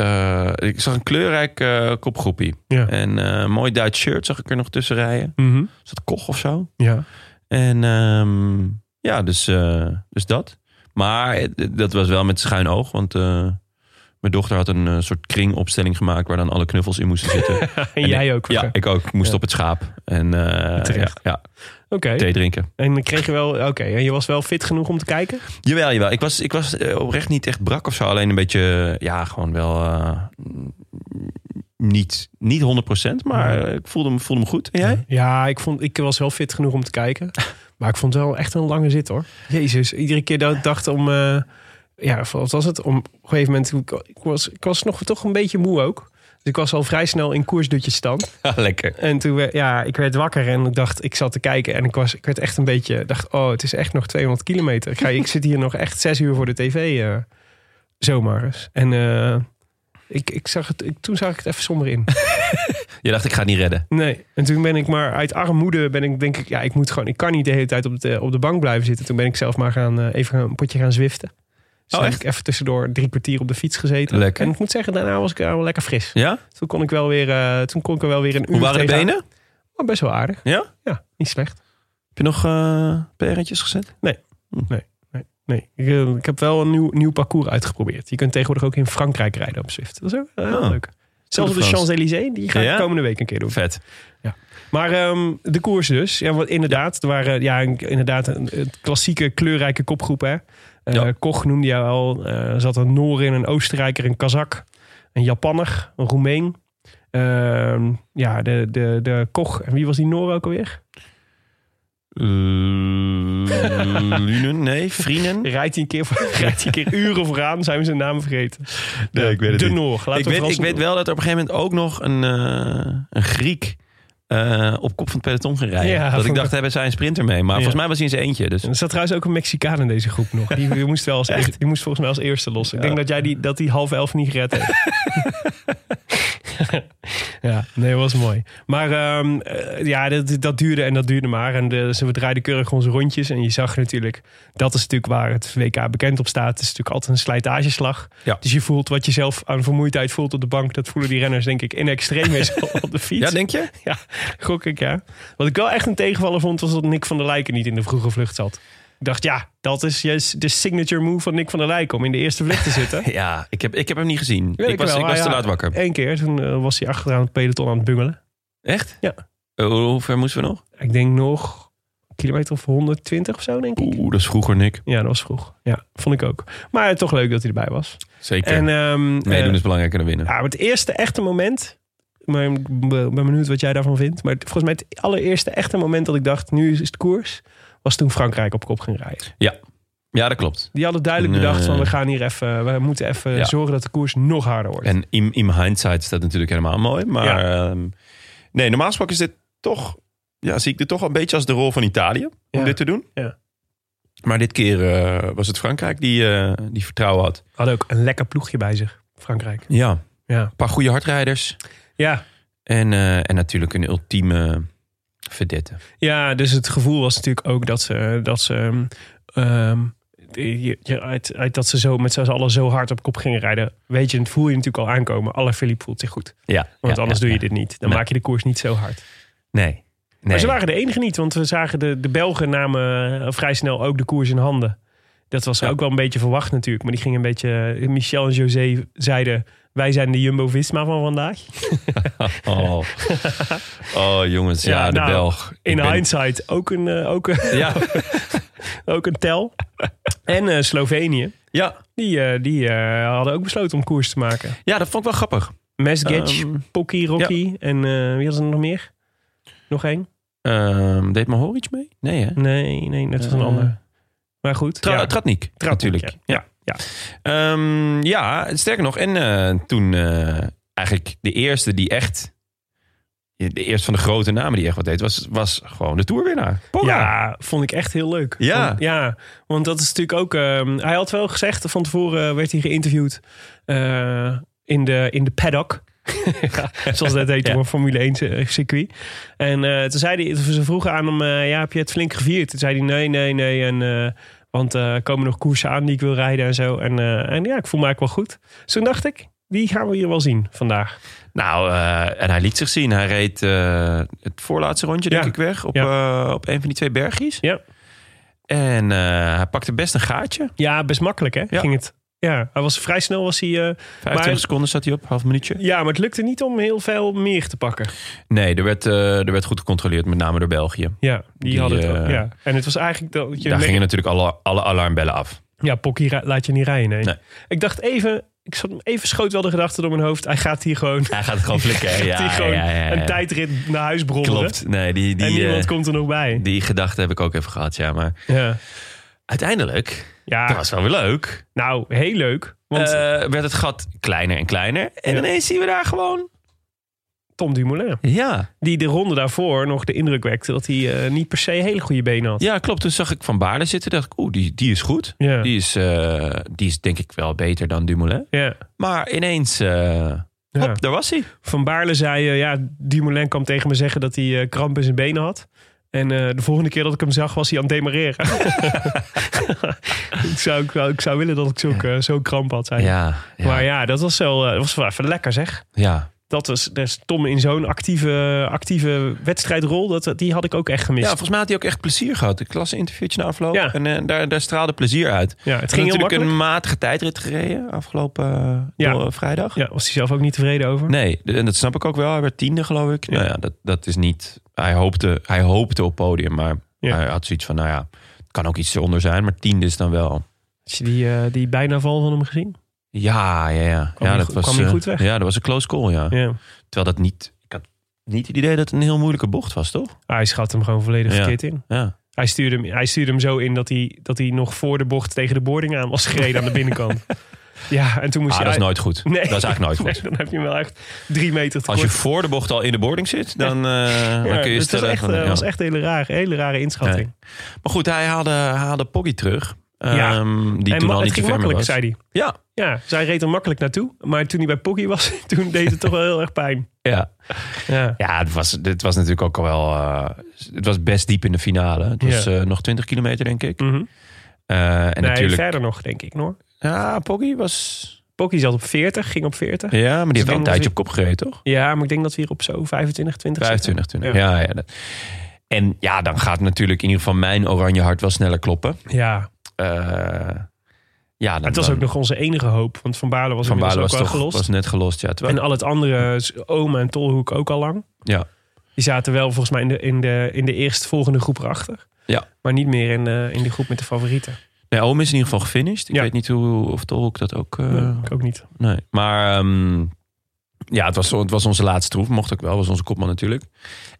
Speaker 1: eh, ik zag een kleurrijk eh, kopgroepie.
Speaker 2: Ja.
Speaker 1: En eh, een mooi Duits shirt zag ik er nog tussen rijden.
Speaker 2: Mhm.
Speaker 1: Is dat Koch of zo?
Speaker 2: Ja.
Speaker 1: En ehm, ja, dus, eh, dus dat. Maar eh, dat was wel met schuin oog, want... eh, mijn dochter had een eh, soort kringopstelling gemaakt waar dan alle knuffels in moesten zitten.
Speaker 2: [LAUGHS] En, jij ook.
Speaker 1: Ja,
Speaker 2: Oké.
Speaker 1: ik ook. Ik moest
Speaker 2: Ja.
Speaker 1: op het schaap. En eh ja,
Speaker 2: Terecht.
Speaker 1: ja, thee drinken.
Speaker 2: En dan kreeg je wel... Oké, en je was wel fit genoeg om te kijken?
Speaker 1: Jawel, jawel. Ik was, ik was eh, oprecht niet echt brak of zo. Alleen een beetje, ja, gewoon wel eh, mm, niet, niet 100%. Maar eh, ik voelde me, voelde me goed. En jij?
Speaker 2: Ja, ik, vond, ik was wel fit genoeg om te [LAUGHS] kijken. Maar ik vond het wel echt een lange zit hoor. Jezus, iedere keer dat ik dacht om... eh, ja, wat was het? Om, op een gegeven moment, ik- ik was, ik was nog toch een beetje moe ook. Dus ik was al vrij snel in koersdutjesstand.
Speaker 1: Ja, [LAUGHS] lekker.
Speaker 2: En toen werd, ja, ik werd wakker en ik dacht, ik zat te kijken en ik, was, ik werd echt een beetje, dacht, oh, het is echt nog 200 kilometer. Ik, ga, ik zit hier [LAUGHS] nog echt zes uur voor de tv, eh, zomaar eens. En eh, ik, ik zag het, ik- toen zag ik het even somber
Speaker 1: [LAUGHS]
Speaker 2: in.
Speaker 1: Je dacht, ik ga het niet redden.
Speaker 2: Nee, en toen ben ik maar uit armoede, ben ik denk ik, ja, ik moet gewoon, ik kan niet de hele tijd op de, op de bank blijven zitten. Toen ben ik zelf maar gaan, eh, even een potje gaan zwiften. Dus
Speaker 1: Oh,
Speaker 2: heb
Speaker 1: echt?
Speaker 2: ik even tussendoor drie kwartier op de fiets gezeten.
Speaker 1: Lekker.
Speaker 2: En ik moet zeggen, daarna was ik wel lekker fris.
Speaker 1: Ja?
Speaker 2: Toen kon ik wel weer, eh, toen kon ik er wel weer een uur
Speaker 1: Hoe waren de
Speaker 2: tegenaan.
Speaker 1: benen?
Speaker 2: Maar best wel aardig.
Speaker 1: Ja?
Speaker 2: Ja, niet slecht.
Speaker 1: Heb je nog eh perentjes gezet?
Speaker 2: Nee, ik, eh, ik heb wel een nieuw, nieuw parcours uitgeprobeerd. Je kunt tegenwoordig ook in Frankrijk rijden op Zwift. Dat is ook eh, heel
Speaker 1: Oh.
Speaker 2: leuk. Zelfs op de
Speaker 1: France.
Speaker 2: Champs-Élysées, die ga ik
Speaker 1: Ja?
Speaker 2: komende week een keer doen.
Speaker 1: Vet.
Speaker 2: Maar ehm, de koers dus. Ja, wat inderdaad, er waren ja, een- inderdaad een, een klassieke kleurrijke kopgroep. Hè? Eh,
Speaker 1: Ja.
Speaker 2: Koch noemde jou al. eh, Er zat een Noor in, een Oostenrijker, een Kazak, een Japanner, een Roemeen. Ehm, ja, de, de, de Koch. En wie was die Noor ook alweer?
Speaker 1: Eh, Lunen? Nee, vrienden?
Speaker 2: Rijdt hij een keer, voor- [LAUGHS] rijdt hij een keer uren vooraan, zijn we zijn naam vergeten.
Speaker 1: Nee, ik weet het
Speaker 2: de
Speaker 1: niet.
Speaker 2: Noor. Laten
Speaker 1: Ik
Speaker 2: we
Speaker 1: weet,
Speaker 2: vooral
Speaker 1: ik weet wel dat er op een gegeven moment ook nog een, eh, een Griek eh, op kop van het peloton ging rijden.
Speaker 2: Ja,
Speaker 1: dat
Speaker 2: vond
Speaker 1: ik
Speaker 2: ik-
Speaker 1: dacht, hebben zij een sprinter mee? Maar volgens mij was hij in zijn eentje. Dus
Speaker 2: Er zat trouwens ook een Mexicaan in deze groep nog. Die, die moest, wel
Speaker 1: [LAUGHS]
Speaker 2: als, die moest volgens mij als eerste lossen. Ik denk dat jij die, dat die half elf niet gered
Speaker 1: [LAUGHS]
Speaker 2: heeft. ja, nee, was mooi. Maar ehm, eh, ja, dat, dat duurde en dat duurde maar. En de, ze- we draaiden keurig onze rondjes. En je zag natuurlijk, dat is natuurlijk waar het WK bekend op staat. Het is natuurlijk altijd een slijtageslag.
Speaker 1: Ja.
Speaker 2: Dus je voelt wat je zelf aan vermoeidheid voelt op de bank. Dat voelen die renners denk ik in extremis [LAUGHS] op de fiets.
Speaker 1: Ja, denk je?
Speaker 2: [LAUGHS] Ja, gok ik ja. Wat ik wel echt een tegenvaller vond, was dat Nick van der Lijken niet in de vroege vlucht zat. Ik dacht, ja, dat is juist de signature move van Nick van der Lijken om in de eerste vlucht te
Speaker 1: [LAUGHS]
Speaker 2: zitten.
Speaker 1: Ja, ik heb, ik heb hem niet gezien.
Speaker 2: Ja,
Speaker 1: ik, was,
Speaker 2: wel,
Speaker 1: ik was
Speaker 2: maar
Speaker 1: te
Speaker 2: ja,
Speaker 1: laat wakker.
Speaker 2: Eén keer, toen eh, was hij achteraan het peloton aan het bungelen.
Speaker 1: Echt?
Speaker 2: Ja.
Speaker 1: Eh, Hoe, hoe ver moesten we nog?
Speaker 2: Ik denk nog een kilometer of 120 of zo, denk ik.
Speaker 1: Oeh, dat is vroeger, Nick.
Speaker 2: Ja, dat was vroeg. Ja, vond ik ook. Maar eh, toch leuk dat hij erbij was.
Speaker 1: Zeker.
Speaker 2: En, ehm,
Speaker 1: Meedoen
Speaker 2: eh,
Speaker 1: is belangrijker dan winnen.
Speaker 2: Ja, maar het eerste echte moment. Maar ik ben benieuwd wat jij daarvan vindt. Maar het- volgens mij het allereerste echte moment dat ik dacht, nu is het koers, was toen Frankrijk op kop ging rijden.
Speaker 1: Ja, dat klopt.
Speaker 2: Die hadden duidelijk
Speaker 1: Nee.
Speaker 2: bedacht van we gaan hier even, we moeten even
Speaker 1: Ja.
Speaker 2: zorgen dat de koers nog harder wordt.
Speaker 1: En in, in hindsight is dat natuurlijk helemaal mooi. Maar
Speaker 2: Ja.
Speaker 1: ehm, nee, normaal gesproken is dit toch... Ja, zie ik dit toch een beetje als de rol van Italië. Om
Speaker 2: Ja.
Speaker 1: dit te doen.
Speaker 2: Ja.
Speaker 1: Maar dit keer eh, was het Frankrijk die, eh, die vertrouwen had.
Speaker 2: Hadden ook een lekker ploegje bij zich, Frankrijk.
Speaker 1: Ja. Een
Speaker 2: Ja,
Speaker 1: paar goede hardrijders.
Speaker 2: ja.
Speaker 1: En, eh, en natuurlijk een ultieme vedette.
Speaker 2: ja dus het gevoel was natuurlijk ook dat ze, dat ze, ehm, ehm, je- je- uit, uit dat ze zo met z'n allen zo hard op kop gingen rijden. Weet je, het voel je natuurlijk al aankomen. Alle Philippe voelt zich goed.
Speaker 1: Ja.
Speaker 2: Want
Speaker 1: ja,
Speaker 2: anders
Speaker 1: ja,
Speaker 2: doe je
Speaker 1: ja.
Speaker 2: dit niet. Dan
Speaker 1: Nee.
Speaker 2: maak je de koers niet zo hard.
Speaker 1: Nee. nee.
Speaker 2: Maar ze waren de enige niet, want we zagen de, de Belgen namen eh, vrij snel ook de koers in handen. Dat was
Speaker 1: Ja.
Speaker 2: ook wel een beetje verwacht natuurlijk. Maar die gingen een beetje... eh, Michel en José zeiden... Wij zijn de Jumbo-Visma van vandaag.
Speaker 1: [LAUGHS] Oh, oh jongens, ja,
Speaker 2: Ja,
Speaker 1: de
Speaker 2: nou,
Speaker 1: Belg. Ik
Speaker 2: In
Speaker 1: ben-
Speaker 2: hindsight ook een, eh, ook,
Speaker 1: [LAUGHS]
Speaker 2: een- [LAUGHS]
Speaker 1: Ja,
Speaker 2: ook een tel. En eh, Slovenië.
Speaker 1: ja,
Speaker 2: Die, eh, die eh, hadden ook besloten om koers te maken.
Speaker 1: ja, dat vond ik wel grappig.
Speaker 2: Mesgetch,
Speaker 1: Ehm,
Speaker 2: Pocky, Rocky. En eh, wie had er nog meer? Nog één?
Speaker 1: Ehm, deed Mohoric mee? Nee, hè?
Speaker 2: Nee, nee, dat was een
Speaker 1: Eh,
Speaker 2: ander. Maar goed.
Speaker 1: Tra
Speaker 2: ja.
Speaker 1: Tratnik,
Speaker 2: Tratnik,
Speaker 1: natuurlijk.
Speaker 2: ja.
Speaker 1: Ja. Ja. Ehm, ja, sterker nog. En eh, toen eh, eigenlijk de eerste die echt... De eerste van de grote namen die echt wat deed, was, was gewoon de toerwinnaar. Pogacar.
Speaker 2: Ja, vond ik echt heel leuk.
Speaker 1: Ja.
Speaker 2: Want, ja, want dat is natuurlijk ook... ehm, hij had wel gezegd, van tevoren werd hij geïnterviewd eh, in, de, in de paddock. [LAUGHS] Ja, zoals dat heet op een Formule 1 cir- circuit. En eh, toen zei hij, ze vroegen aan hem, eh, ja, heb je het flink gevierd? Toen zei hij, nee, nee, nee. En, eh, want eh, er komen nog koersen aan die ik wil rijden en zo. En, eh, en ja, ik voel me eigenlijk wel goed. Dus toen dacht ik, die gaan we hier wel zien vandaag.
Speaker 1: Nou, eh, en hij liet zich zien. Hij reed eh, het voorlaatste rondje,
Speaker 2: Ja.
Speaker 1: denk ik, weg. Op, eh, op een van die twee bergjes.
Speaker 2: Ja,
Speaker 1: En eh, hij pakte best een gaatje.
Speaker 2: ja best makkelijk hè,
Speaker 1: Ja.
Speaker 2: ging het. Ja, hij was vrij snel was hij... eh,
Speaker 1: 25
Speaker 2: Maar-
Speaker 1: seconden zat hij op, half minuutje.
Speaker 2: ja, maar het lukte niet om heel veel meer te pakken.
Speaker 1: Nee, er werd, eh, er werd goed gecontroleerd, met name door België.
Speaker 2: Ja, die,
Speaker 1: Die,
Speaker 2: hadden het ook,
Speaker 1: eh,
Speaker 2: ja. En het was eigenlijk dat je...
Speaker 1: Daar
Speaker 2: merkt-
Speaker 1: gingen natuurlijk alle, alle alarmbellen
Speaker 2: [LAUGHS]
Speaker 1: af.
Speaker 2: Ja, Pocky ra- laat je niet rijden, nee.
Speaker 1: Nee.
Speaker 2: Ik dacht even... Ik zat even schoot wel de gedachte door mijn hoofd. Hij gaat hier gewoon, [LAUGHS]
Speaker 1: Hij gaat gewoon flikken. hè? Ja,
Speaker 2: die gewoon
Speaker 1: ja, ja, ja.
Speaker 2: een tijdrit naar huis brommelen.
Speaker 1: Klopt. Nee, die,
Speaker 2: en
Speaker 1: die,
Speaker 2: niemand
Speaker 1: eh,
Speaker 2: komt er nog bij.
Speaker 1: die gedachte heb ik ook even gehad, ja. Maar
Speaker 2: ja.
Speaker 1: uiteindelijk,
Speaker 2: Ja,
Speaker 1: dat was Eh, wel weer leuk.
Speaker 2: nou, heel leuk. Want
Speaker 1: Ah. Want werd het gat kleiner en kleiner. En
Speaker 2: Ja.
Speaker 1: ineens zien we daar gewoon...
Speaker 2: Tom Dumoulin,
Speaker 1: Ja,
Speaker 2: die de ronde daarvoor nog de indruk wekte... dat hij eh, niet per se hele goede benen had.
Speaker 1: ja klopt. Toen zag ik Van Baarle zitten. dacht ik, oeh, die, die is goed.
Speaker 2: Ja.
Speaker 1: Die, is, eh, die is denk ik wel beter dan Dumoulin.
Speaker 2: Ja.
Speaker 1: Maar ineens, eh
Speaker 2: Ja.
Speaker 1: hop, daar was hij.
Speaker 2: Van Baarle zei, eh, ja, Dumoulin kwam tegen me zeggen dat hij eh, kramp in zijn benen had. En eh, de volgende keer dat ik hem zag, was hij aan het demareren. [LAUGHS] ik, zou, ik, zou, ik zou willen dat ik zo'n eh, zo'n kramp had. Zei. hij.
Speaker 1: Ja, ja,
Speaker 2: Maar
Speaker 1: ja.
Speaker 2: ja, dat was wel, eh, dat was wel even lekker zeg.
Speaker 1: ja.
Speaker 2: Dat was, dat is Tom in zo'n actieve, actieve wedstrijdrol, dat, die had ik ook echt gemist.
Speaker 1: volgens mij had hij ook echt plezier gehad. Ik las een interviewtje na afloop
Speaker 2: Ja.
Speaker 1: en eh, daar, daar straalde plezier uit.
Speaker 2: Ja, het
Speaker 1: Hij
Speaker 2: ging
Speaker 1: heeft
Speaker 2: heel
Speaker 1: natuurlijk
Speaker 2: makkelijk.
Speaker 1: een matige tijdrit gereden afgelopen eh,
Speaker 2: Ja.
Speaker 1: door- vrijdag.
Speaker 2: Ja, was hij zelf ook niet tevreden over?
Speaker 1: Nee, d- en dat snap ik ook wel. Hij werd tiende, geloof ik. Nou ja, dat, dat is niet... Hij hoopte, hij hoopte op podium, maar
Speaker 2: Ja.
Speaker 1: hij had zoiets van... Nou ja, het kan ook iets eronder zijn, maar tiende is dan wel...
Speaker 2: Had je die, eh, die bijna val van hem gezien?
Speaker 1: Ja, ja, ja.
Speaker 2: Kwam
Speaker 1: ja
Speaker 2: hij go- kwam hij
Speaker 1: eh,
Speaker 2: goed weg?
Speaker 1: Ja, dat was een close call, ja.
Speaker 2: Ja.
Speaker 1: Terwijl dat niet... Ik had niet het idee dat het een heel moeilijke bocht was, toch?
Speaker 2: Ah, Hij schat hem gewoon volledig
Speaker 1: Ja.
Speaker 2: verkeerd in.
Speaker 1: Ja.
Speaker 2: Hij stuurde hem, hij stuurde hem zo in dat hij, dat hij nog voor de bocht tegen de boarding aan was gereden aan de
Speaker 1: [LAUGHS]
Speaker 2: binnenkant. Ja, en toen moest
Speaker 1: Ah,
Speaker 2: hij...
Speaker 1: dat is nooit goed.
Speaker 2: Nee.
Speaker 1: Dat is eigenlijk nooit goed.
Speaker 2: [LAUGHS] Nee, dan heb je hem wel echt drie meter te
Speaker 1: Als je
Speaker 2: kort.
Speaker 1: voor de bocht al in de boarding zit, dan, eh, dan kun je
Speaker 2: het was
Speaker 1: stellen...
Speaker 2: echt,
Speaker 1: van,
Speaker 2: eh,
Speaker 1: ja.
Speaker 2: was echt een hele rare, hele rare inschatting.
Speaker 1: Maar goed, hij haalde, hij haalde Poggy terug.
Speaker 2: Ja.
Speaker 1: Ehm, die
Speaker 2: en
Speaker 1: toen
Speaker 2: ma-
Speaker 1: al
Speaker 2: het
Speaker 1: niet te
Speaker 2: ging
Speaker 1: ver meer
Speaker 2: makkelijk,
Speaker 1: was.
Speaker 2: zei hij.
Speaker 1: Ja,
Speaker 2: Ja, zij reed er makkelijk naartoe. Maar toen hij bij Poggy was, [LAUGHS] toen deed het toch wel heel erg pijn.
Speaker 1: ja.
Speaker 2: Ja,
Speaker 1: ja het, was, het was natuurlijk ook al wel... eh, het was best diep in de finale. Het was
Speaker 2: Ja.
Speaker 1: eh, nog 20 kilometer, denk ik.
Speaker 2: Mhm.
Speaker 1: Eh, en
Speaker 2: nee,
Speaker 1: natuurlijk...
Speaker 2: verder nog, denk ik. hoor.
Speaker 1: Ja, Poggy was...
Speaker 2: Poggy zat op 40, ging op 40. Ja.
Speaker 1: Ja, maar die heeft wel een
Speaker 2: denk
Speaker 1: tijdje
Speaker 2: dat-
Speaker 1: op kop gereden, toch?
Speaker 2: maar ik denk dat we hier op zo 25, 20 zitten.
Speaker 1: 25, 20. Ja, ja. dat- En ja, dan gaat natuurlijk in ieder geval mijn oranje hart wel sneller kloppen.
Speaker 2: Ja,
Speaker 1: Eh, ja, dan,
Speaker 2: het was
Speaker 1: dan-
Speaker 2: ook nog onze enige hoop. Want Van Baarle was
Speaker 1: Van
Speaker 2: inmiddels
Speaker 1: Baarle was
Speaker 2: ook
Speaker 1: toch
Speaker 2: wel gelost.
Speaker 1: was net gelost. Ja, terwijl-
Speaker 2: En al het andere, s- Oma en Tolhoek ook al lang.
Speaker 1: Ja.
Speaker 2: Die zaten wel volgens mij in de, in de, in de eerstvolgende groep erachter.
Speaker 1: Ja.
Speaker 2: Maar niet meer in de, in de groep met de favorieten.
Speaker 1: Nee, Oom is in ieder geval gefinished. Ik
Speaker 2: Ja.
Speaker 1: weet niet hoe, of Tolhoek dat ook... eh,
Speaker 2: ik ook niet.
Speaker 1: Nee. Maar ehm, ja, het was, zo- het was onze laatste troef. Mocht ook wel. was onze kopman natuurlijk.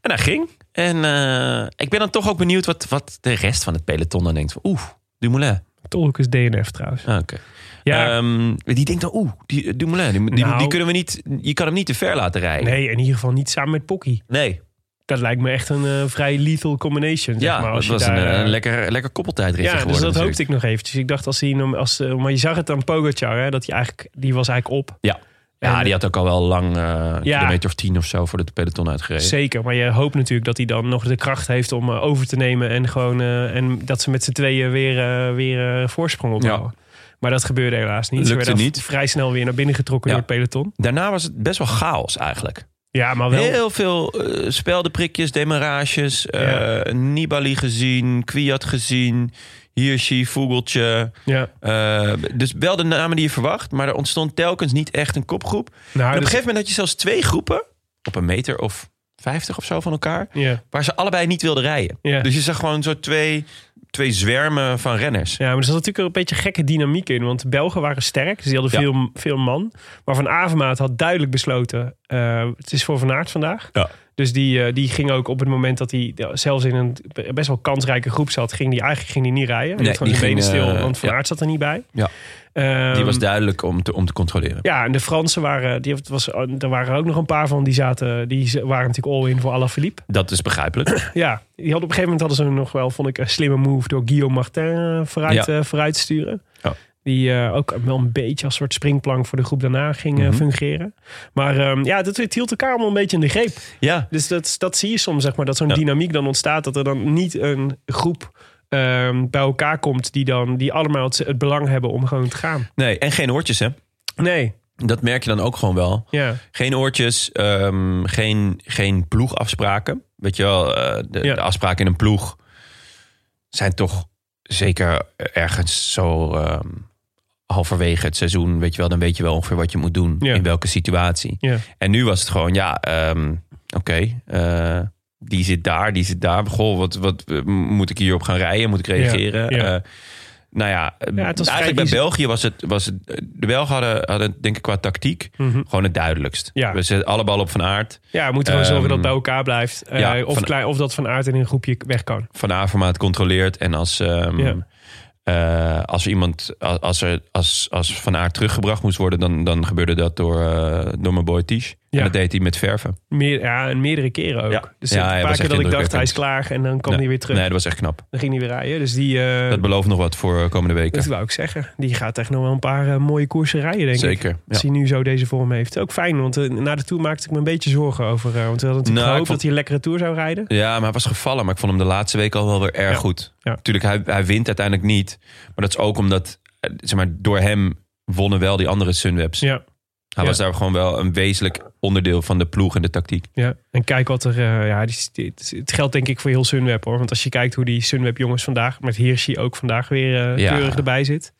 Speaker 1: En hij ging. En eh, ik ben dan toch ook benieuwd wat, wat de rest van het peloton dan denkt. Van, Oeh, Dumoulin.
Speaker 2: Tolhoek is DNF trouwens.
Speaker 1: Ah, Oké.
Speaker 2: Ja,
Speaker 1: Ehm, die denkt dan, oeh, die, eh, Dumoulin. Die, die,
Speaker 2: Nou.
Speaker 1: die kunnen we niet... Je kan hem niet te ver laten rijden.
Speaker 2: nee, in ieder geval niet samen met Pocky.
Speaker 1: Nee.
Speaker 2: Dat lijkt me echt een eh, vrij lethal combination. Zeg
Speaker 1: Ja,
Speaker 2: maar, als
Speaker 1: het was
Speaker 2: je daar,
Speaker 1: een,
Speaker 2: eh,
Speaker 1: een lekker, lekker koppeltijdrit
Speaker 2: Ja, dus dat
Speaker 1: geworden
Speaker 2: hoopte ik nog eventjes. Ik dacht als hij... hem- Als, eh, maar je zag het aan Pogacar, hè, dat hij eigenlijk, die was eigenlijk op.
Speaker 1: Ja,
Speaker 2: En-
Speaker 1: die had ook al wel lang, eh, een
Speaker 2: Ja.
Speaker 1: kilometer of tien of zo, voordat de peloton uitgereden.
Speaker 2: Zeker, maar je hoopt natuurlijk dat hij dan nog de kracht heeft om eh, over te nemen. En, gewoon, eh, en dat ze met z'n tweeën weer, eh, weer eh, voorsprong opbouwen. Maar dat gebeurde helaas niet. ze
Speaker 1: Lukte
Speaker 2: werden
Speaker 1: niet.
Speaker 2: v- vrij snel weer naar binnen getrokken
Speaker 1: Ja.
Speaker 2: door het peloton.
Speaker 1: Daarna was het best wel chaos eigenlijk.
Speaker 2: Ja, maar wel.
Speaker 1: Heel veel eh speldenprikjes, demarages. eh,
Speaker 2: Ja.
Speaker 1: Nibali gezien, Kwiat gezien. Hirschi, Vogeltje.
Speaker 2: Ja.
Speaker 1: Eh, dus wel de namen die je verwacht. Maar er ontstond telkens niet echt een kopgroep. En
Speaker 2: Nou,
Speaker 1: op een
Speaker 2: dat-
Speaker 1: gegeven moment had je zelfs twee groepen. Op een meter of vijftig of zo van elkaar.
Speaker 2: ja.
Speaker 1: Waar ze allebei niet wilden rijden.
Speaker 2: Ja.
Speaker 1: Dus je zag gewoon zo twee, twee zwermen van renners.
Speaker 2: ja, maar er zat natuurlijk een beetje gekke dynamiek in. Want de Belgen waren sterk, dus die hadden
Speaker 1: Ja.
Speaker 2: veel, veel man. Maar Van Avermaat had duidelijk besloten... eh, het is voor Van Aert vandaag.
Speaker 1: Ja.
Speaker 2: Dus die, eh, die ging ook op het moment dat hij ja, zelfs in een best wel kansrijke groep zat, ging die eigenlijk ging die niet rijden. Hij
Speaker 1: Nee,
Speaker 2: had gewoon
Speaker 1: die
Speaker 2: zijn benen
Speaker 1: ging,
Speaker 2: stil,
Speaker 1: eh,
Speaker 2: want Van
Speaker 1: ja.
Speaker 2: Aert zat er niet bij.
Speaker 1: Ja.
Speaker 2: Ehm,
Speaker 1: Die was duidelijk om te, om te controleren.
Speaker 2: ja, en de Fransen waren, die het was, er waren ook nog een paar van die zaten, die z- waren natuurlijk all in voor Alaphilippe.
Speaker 1: Dat is begrijpelijk.
Speaker 2: Ja, die hadden op een gegeven moment hadden ze nog wel, vond ik, een slimme move door Guillaume Martin eh, vooruit,
Speaker 1: Ja.
Speaker 2: eh, vooruit te sturen.
Speaker 1: Ja.
Speaker 2: Die eh, ook wel een beetje als soort springplank voor de groep daarna ging eh,
Speaker 1: Mhm.
Speaker 2: fungeren. Maar ehm, ja, dat, het hield elkaar allemaal een beetje in de greep.
Speaker 1: ja.
Speaker 2: Dus dat, dat zie je soms, zeg maar, dat zo'n
Speaker 1: Ja.
Speaker 2: dynamiek dan ontstaat. Dat er dan niet een groep ehm, bij elkaar komt die dan die allemaal het, het belang hebben om gewoon te gaan.
Speaker 1: Nee, en geen hoortjes hè.
Speaker 2: Nee.
Speaker 1: Dat merk je dan ook gewoon wel.
Speaker 2: Ja.
Speaker 1: Geen oortjes, ehm, geen, geen ploegafspraken. Weet je wel, eh, de,
Speaker 2: Ja.
Speaker 1: de afspraken in een ploeg zijn toch zeker ergens zo ehm, halverwege het seizoen. Weet je wel, dan weet je wel ongeveer wat je moet doen.
Speaker 2: Ja.
Speaker 1: In welke situatie.
Speaker 2: Ja.
Speaker 1: En nu was het gewoon, ja, ehm, oké. eh, die zit daar, die zit daar. Goh, wat, wat eh, moet ik hierop gaan rijden? Moet ik reageren?
Speaker 2: Ja, ja.
Speaker 1: Eh, nou ja, eh,
Speaker 2: het was vrij
Speaker 1: eigenlijk bij
Speaker 2: easy.
Speaker 1: België was het... Was het eh, de Belgen hadden, hadden het, denk ik qua tactiek gewoon het duidelijkst.
Speaker 2: Mhm. Ja.
Speaker 1: We zetten alle ballen op Van Aert.
Speaker 2: Ja, we moeten gewoon zorgen dat
Speaker 1: Ehm,
Speaker 2: het bij elkaar blijft. Eh,
Speaker 1: ja,
Speaker 2: of,
Speaker 1: van-
Speaker 2: klein, of dat Van Aert in een groepje weg kan.
Speaker 1: Van Avermaat controleert. En als, ehm,
Speaker 2: Ja.
Speaker 1: eh, als, iemand, als, als, er, als, als Van Aert teruggebracht moest worden... dan, dan gebeurde dat door, eh, door mijn boy Ties.
Speaker 2: Ja.
Speaker 1: En dat deed hij met verven.
Speaker 2: Meer, ja, en meerdere keren ook.
Speaker 1: Ja.
Speaker 2: Dus
Speaker 1: Ja, hij
Speaker 2: een
Speaker 1: was
Speaker 2: paar
Speaker 1: echt
Speaker 2: keer dat ik dacht,
Speaker 1: indrukwekkend.
Speaker 2: hij is klaar en dan kwam
Speaker 1: nee,
Speaker 2: hij weer terug.
Speaker 1: Nee, dat was echt knap.
Speaker 2: Dan ging hij weer rijden. Dus die, eh,
Speaker 1: Dat belooft nog wat voor eh, komende weken.
Speaker 2: dat wou ik zeggen. Die gaat echt nog wel een paar eh, mooie koersen rijden, denk ik.
Speaker 1: Zeker. ja.
Speaker 2: Als hij nu zo deze vorm heeft. Ook fijn, want eh, na de Tour maakte ik me een beetje zorgen over. eh, want we hadden natuurlijk
Speaker 1: Nou, ik
Speaker 2: gehoopt
Speaker 1: vond-
Speaker 2: dat hij een lekkere Tour zou rijden.
Speaker 1: Ja, maar hij was gevallen. Maar ik vond hem de laatste week al wel weer erg
Speaker 2: Ja.
Speaker 1: goed.
Speaker 2: Ja.
Speaker 1: Natuurlijk, hij, hij wint uiteindelijk niet. Maar dat is ook omdat, eh, zeg maar, door hem wonnen wel die andere Sunwebs.
Speaker 2: Ja,
Speaker 1: Hij
Speaker 2: ja.
Speaker 1: was daar gewoon wel een wezenlijk onderdeel van de ploeg en de tactiek.
Speaker 2: ja. En kijk wat er... eh, ja, die, dit- het geldt denk ik voor heel Sunweb, hoor. Want als je kijkt hoe die Sunweb-jongens vandaag... met Hirschi ook vandaag weer eh,
Speaker 1: Ja.
Speaker 2: keurig erbij zit.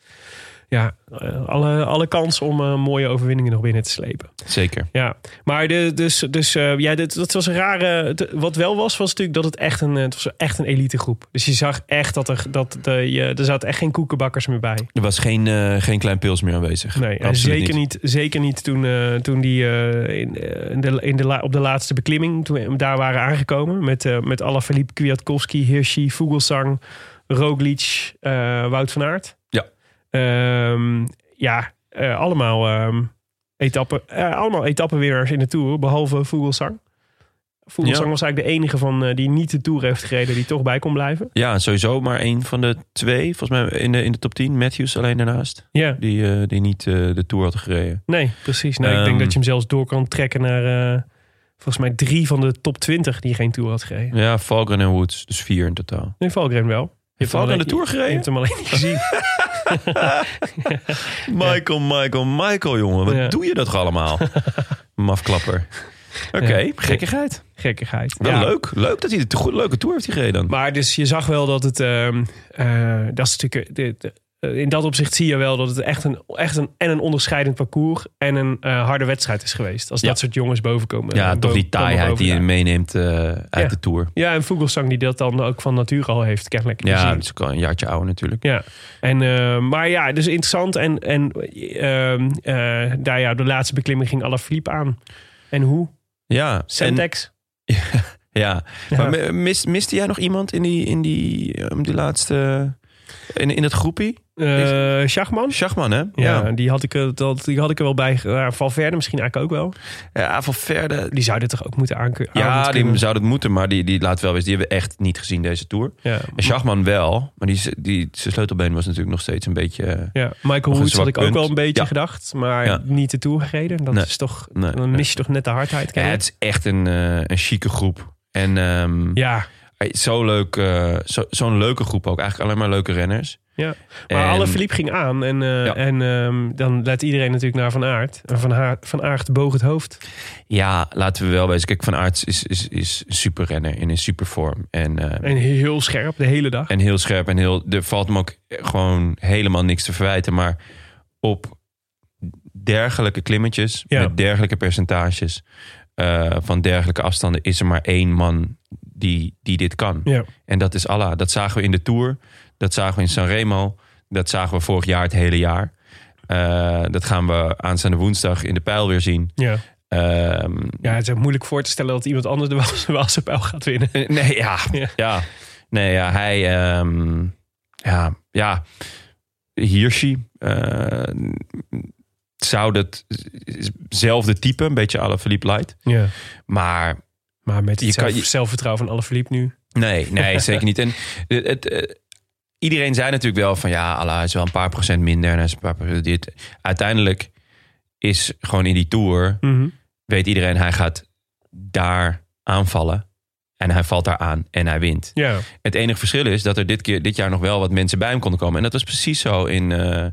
Speaker 2: Ja, eh, alle, alle kans om eh, mooie overwinningen nog binnen te slepen.
Speaker 1: Zeker.
Speaker 2: Ja, maar de, dus, dus eh, ja, dit, dat was een rare. het- wat wel was, was natuurlijk dat het echt een, eh, het was echt een elite groep. Dus je zag echt dat er, dat de, je, er zaten echt geen koekenbakkers meer bij.
Speaker 1: Er was geen, eh, geen klein pils meer aanwezig.
Speaker 2: Nee, en
Speaker 1: Absoluut
Speaker 2: zeker niet. zeker niet toen, eh, toen die eh, in, eh, in de, in de, la- op de laatste beklimming, toen we daar waren aangekomen met, eh met Alaphilippe, Kwiatkowski, Hirschi, Vogelsang, Roglic, eh, Wout van Aert.
Speaker 1: Ja.
Speaker 2: Ehm, ja, eh, allemaal, ehm etappen, eh, allemaal etappenwinnaars in de Tour, behalve Vogelsang. Vogelsang
Speaker 1: Ja.
Speaker 2: was eigenlijk de enige van eh, die niet de Tour heeft gereden, die toch bij kon blijven.
Speaker 1: Ja, sowieso maar één van de twee, volgens mij in de, in de top 10. Matthews alleen daarnaast.
Speaker 2: Ja,
Speaker 1: Die, eh, die niet eh, de Tour had gereden.
Speaker 2: Nee, precies. Nee, ik denk
Speaker 1: Ehm,
Speaker 2: dat je hem zelfs door kan trekken naar eh, volgens mij drie van de top 20 die geen Tour had gereden.
Speaker 1: Ja, Valgren en Woods. Dus vier in totaal.
Speaker 2: Nee, Valgren wel. Je
Speaker 1: Valgren
Speaker 2: hem
Speaker 1: de Tour
Speaker 2: je-
Speaker 1: gereden?
Speaker 2: Je hebt hem alleen niet gezien.
Speaker 1: Michael, Michael, Michael, jongen. Wat
Speaker 2: Ja.
Speaker 1: doe je dat toch
Speaker 2: [LAUGHS]
Speaker 1: allemaal? Mafklapper. [LAUGHS] Oké,
Speaker 2: Ja.
Speaker 1: gekkigheid.
Speaker 2: Gekkigheid.
Speaker 1: Wel
Speaker 2: Ja.
Speaker 1: leuk. Leuk dat hij de to- leuke tour heeft gereden dan.
Speaker 2: Maar dus je zag wel dat het... ehm, eh, dat is natuurlijk... de- de- eh, in dat opzicht zie je wel dat het echt een, echt een, en een onderscheidend parcours en een eh, harde wedstrijd is geweest. Als
Speaker 1: Ja.
Speaker 2: dat soort jongens bovenkomen.
Speaker 1: ja,
Speaker 2: eh,
Speaker 1: toch die
Speaker 2: boven- komen
Speaker 1: taaiheid die je
Speaker 2: bovenaan.
Speaker 1: meeneemt eh, uit
Speaker 2: Ja.
Speaker 1: de tour.
Speaker 2: Ja, en Vogelsang die dat dan ook van nature al heeft, kennelijk.
Speaker 1: Ja,
Speaker 2: gezien.
Speaker 1: dat is ook al een jaartje ouder natuurlijk.
Speaker 2: Ja, en, eh, maar ja, dus interessant. En, en ehm, eh, daar, ja, de laatste beklimming ging Alaphilippe aan. En hoe?
Speaker 1: Ja, en,
Speaker 2: Semtex?
Speaker 1: ja.
Speaker 2: Ja.
Speaker 1: maar mi- mis- miste jij nog iemand in die, in die, ehm, die laatste... In, in het groepie?
Speaker 2: Eh, Schachman?
Speaker 1: Schachman, hè?
Speaker 2: Ja, Die, had ik, eh, dat, die had ik er wel bij. ge- Ja, Valverde misschien eigenlijk ook wel.
Speaker 1: Ja, van verder...
Speaker 2: Die zou dit toch ook moeten aankunnen?
Speaker 1: Ja, die zou dat moeten, maar die, die laat wel weten. Die hebben we echt niet gezien deze tour.
Speaker 2: ja.
Speaker 1: En Schachman wel, maar die, die, zijn sleutelbeen was natuurlijk nog steeds een beetje... eh,
Speaker 2: ja, Michael
Speaker 1: een
Speaker 2: Woods had
Speaker 1: zwak
Speaker 2: ik ook
Speaker 1: punt.
Speaker 2: wel een beetje
Speaker 1: Ja.
Speaker 2: gedacht. Maar
Speaker 1: Ja.
Speaker 2: niet de Tour gereden. Dat
Speaker 1: Nee.
Speaker 2: is toch,
Speaker 1: Nee,
Speaker 2: dan
Speaker 1: nee.
Speaker 2: mis je toch net de hardheid.
Speaker 1: Ja,
Speaker 2: kennelijk.
Speaker 1: het is echt een, eh, een chique groep. En ehm,
Speaker 2: ja.
Speaker 1: hey, zo leuk, eh, zo- zo'n leuke groep ook. Eigenlijk alleen maar leuke renners.
Speaker 2: Ja, maar
Speaker 1: En-
Speaker 2: alle Philippe ging aan en, eh,
Speaker 1: Ja.
Speaker 2: en ehm, dan let iedereen natuurlijk naar Van Aert. En Van, Haar- van Aert boog het hoofd.
Speaker 1: Ja, laten we wel wezen. Kijk, Van Aert is, is, is een superrenner in een supervorm. En, eh,
Speaker 2: En heel scherp de hele dag.
Speaker 1: en heel scherp. En heel, er valt hem ook gewoon helemaal niks te verwijten. Maar op dergelijke klimmetjes,
Speaker 2: Ja.
Speaker 1: met dergelijke percentages... eh, van dergelijke afstanden is er maar één man die, die dit kan.
Speaker 2: Ja,
Speaker 1: En dat is Allah. Dat zagen we in de Tour. Dat zagen we in Sanremo. Dat zagen we vorig jaar het hele jaar. Eh, dat gaan we aanstaande woensdag in de pijl weer zien.
Speaker 2: ja.
Speaker 1: Ehm,
Speaker 2: ja, het is ook moeilijk voor te stellen dat iemand anders de [LAUGHS] Waalse- Waalse pijl gaat winnen.
Speaker 1: eh, Nee, ja.
Speaker 2: Ja.
Speaker 1: ja. Nee, ja. Hij... ehm, ja, ja. Hirschi. eh, zou dat... Zelfde type. Een beetje à la Philippe Light.
Speaker 2: Ja.
Speaker 1: Maar
Speaker 2: Maar met
Speaker 1: Je
Speaker 2: het
Speaker 1: kan-
Speaker 2: zelf-
Speaker 1: je-
Speaker 2: zelfvertrouwen van alle Philippe nu.
Speaker 1: Nee, nee, [LAUGHS] zeker niet. En het, het, eh, iedereen zei natuurlijk wel van ja, Allah is wel een paar procent minder en hij is een paar procent dit. Uiteindelijk is gewoon in die tour
Speaker 2: Mhm.
Speaker 1: weet iedereen hij gaat daar aanvallen en hij valt daar aan en hij wint.
Speaker 2: Ja,
Speaker 1: Het enige verschil is dat er dit keer dit jaar nog wel wat mensen bij hem konden komen en dat was precies zo in eh,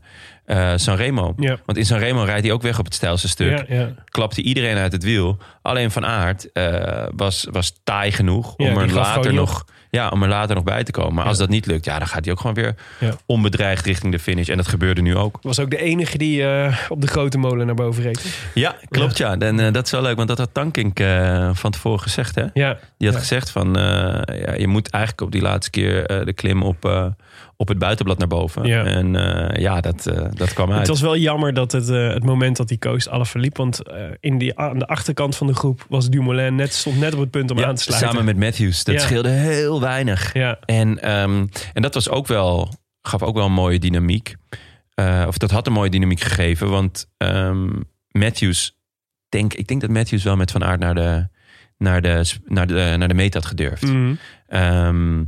Speaker 1: eh Sanremo.
Speaker 2: Ja.
Speaker 1: Want in Sanremo rijdt hij ook weg op het stijlste stuk.
Speaker 2: Ja, ja.
Speaker 1: Klapte iedereen uit het wiel. Alleen Van Aert eh, was, was taai genoeg
Speaker 2: Ja,
Speaker 1: om,
Speaker 2: die
Speaker 1: er
Speaker 2: gaf
Speaker 1: later
Speaker 2: gewoon niet
Speaker 1: nog, ja, om er later nog bij te komen. Maar als dat niet lukt, ja, dan gaat hij ook gewoon weer
Speaker 2: Ja.
Speaker 1: onbedreigd richting de finish. En dat gebeurde nu ook.
Speaker 2: Was ook de enige die eh, op de grote molen naar boven reed.
Speaker 1: Ja, klopt ja. En eh, dat is wel leuk, want dat had Tankink eh, van tevoren gezegd. Hè?
Speaker 2: Ja.
Speaker 1: Die had
Speaker 2: Ja.
Speaker 1: gezegd van, eh, ja, je moet eigenlijk op die laatste keer eh, de klim op, eh, op het buitenblad naar boven.
Speaker 2: Ja.
Speaker 1: En eh, ja, dat, eh, dat kwam uit.
Speaker 2: Het was wel jammer dat het, eh, het moment dat hij koos Alaphilippe. Want eh, in die, aan de achterkant van de groep was Dumoulin net, stond net op het punt om
Speaker 1: Ja,
Speaker 2: aan te sluiten.
Speaker 1: Samen met Matthews. Dat
Speaker 2: Ja.
Speaker 1: scheelde heel weinig.
Speaker 2: Ja,
Speaker 1: En, ehm, en dat was ook wel, gaf ook wel een mooie dynamiek. Eh, of dat had een mooie dynamiek gegeven. Want ehm, Matthews, denk, ik denk dat Matthews wel met Van Aert naar de, naar de, sp- naar de, naar de meet had gedurfd.
Speaker 2: Mhm.
Speaker 1: Ehm,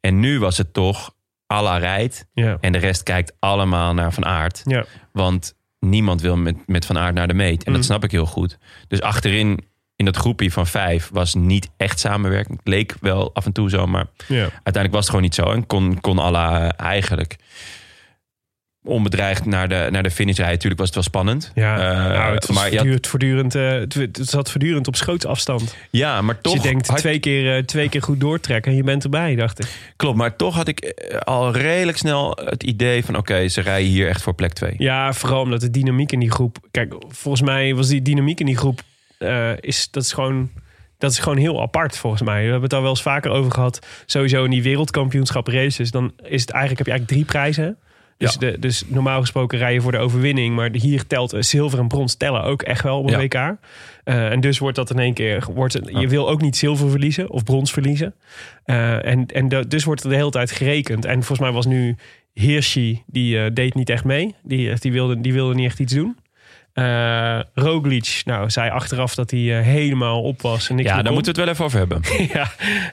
Speaker 1: en nu was het toch, Alla rijdt.
Speaker 2: ja,
Speaker 1: En de rest kijkt allemaal naar Van Aert.
Speaker 2: ja.
Speaker 1: Want niemand wil met, met Van Aert naar de meet. En
Speaker 2: Mm.
Speaker 1: dat snap ik heel goed. Dus achterin in dat groepje van vijf was niet echt samenwerking. Het leek wel af en toe zo, maar
Speaker 2: ja.
Speaker 1: uiteindelijk was het gewoon niet zo. En kon, kon Alla eh, eigenlijk onbedreigd naar de, naar de finish rijden. Tuurlijk was het wel spannend.
Speaker 2: Ja,
Speaker 1: Eh,
Speaker 2: nou, het, was
Speaker 1: maar je had-
Speaker 2: voortdurend, voortdurend, eh, het, het zat voortdurend op schootsafstand.
Speaker 1: ja, maar toch...
Speaker 2: dus je denkt
Speaker 1: had-
Speaker 2: twee, keer, eh, twee keer goed doortrekken en je bent erbij, dacht ik.
Speaker 1: Klopt, maar toch had ik eh, al redelijk snel het idee van... oké, ze rijden hier echt voor plek twee.
Speaker 2: Ja, vooral omdat de dynamiek in die groep... Kijk, volgens mij was die dynamiek in die groep... eh, is, dat, is gewoon, dat is gewoon heel apart, volgens mij. We hebben het daar wel eens vaker over gehad. Sowieso in die wereldkampioenschap races... dan is het eigenlijk, heb je eigenlijk drie prijzen. Dus,
Speaker 1: Ja.
Speaker 2: de, dus normaal gesproken rij je voor de overwinning. Maar hier telt eh, zilver en brons tellen ook echt wel op
Speaker 1: Ja.
Speaker 2: een WK. Eh, en dus wordt dat in één keer... Wordt het, Je wil ook niet zilver verliezen of brons verliezen. Eh, en en da- dus wordt er de hele tijd gerekend. En volgens mij was nu Hirschi, die eh, deed niet echt mee. Die, die, wilde, die wilde niet echt iets doen. Eh Roglic, nou, zei achteraf dat hij eh, helemaal op was. En niks
Speaker 1: Ja,
Speaker 2: meer
Speaker 1: daar
Speaker 2: kon.
Speaker 1: moeten we het wel even over hebben.
Speaker 2: [LAUGHS] ja,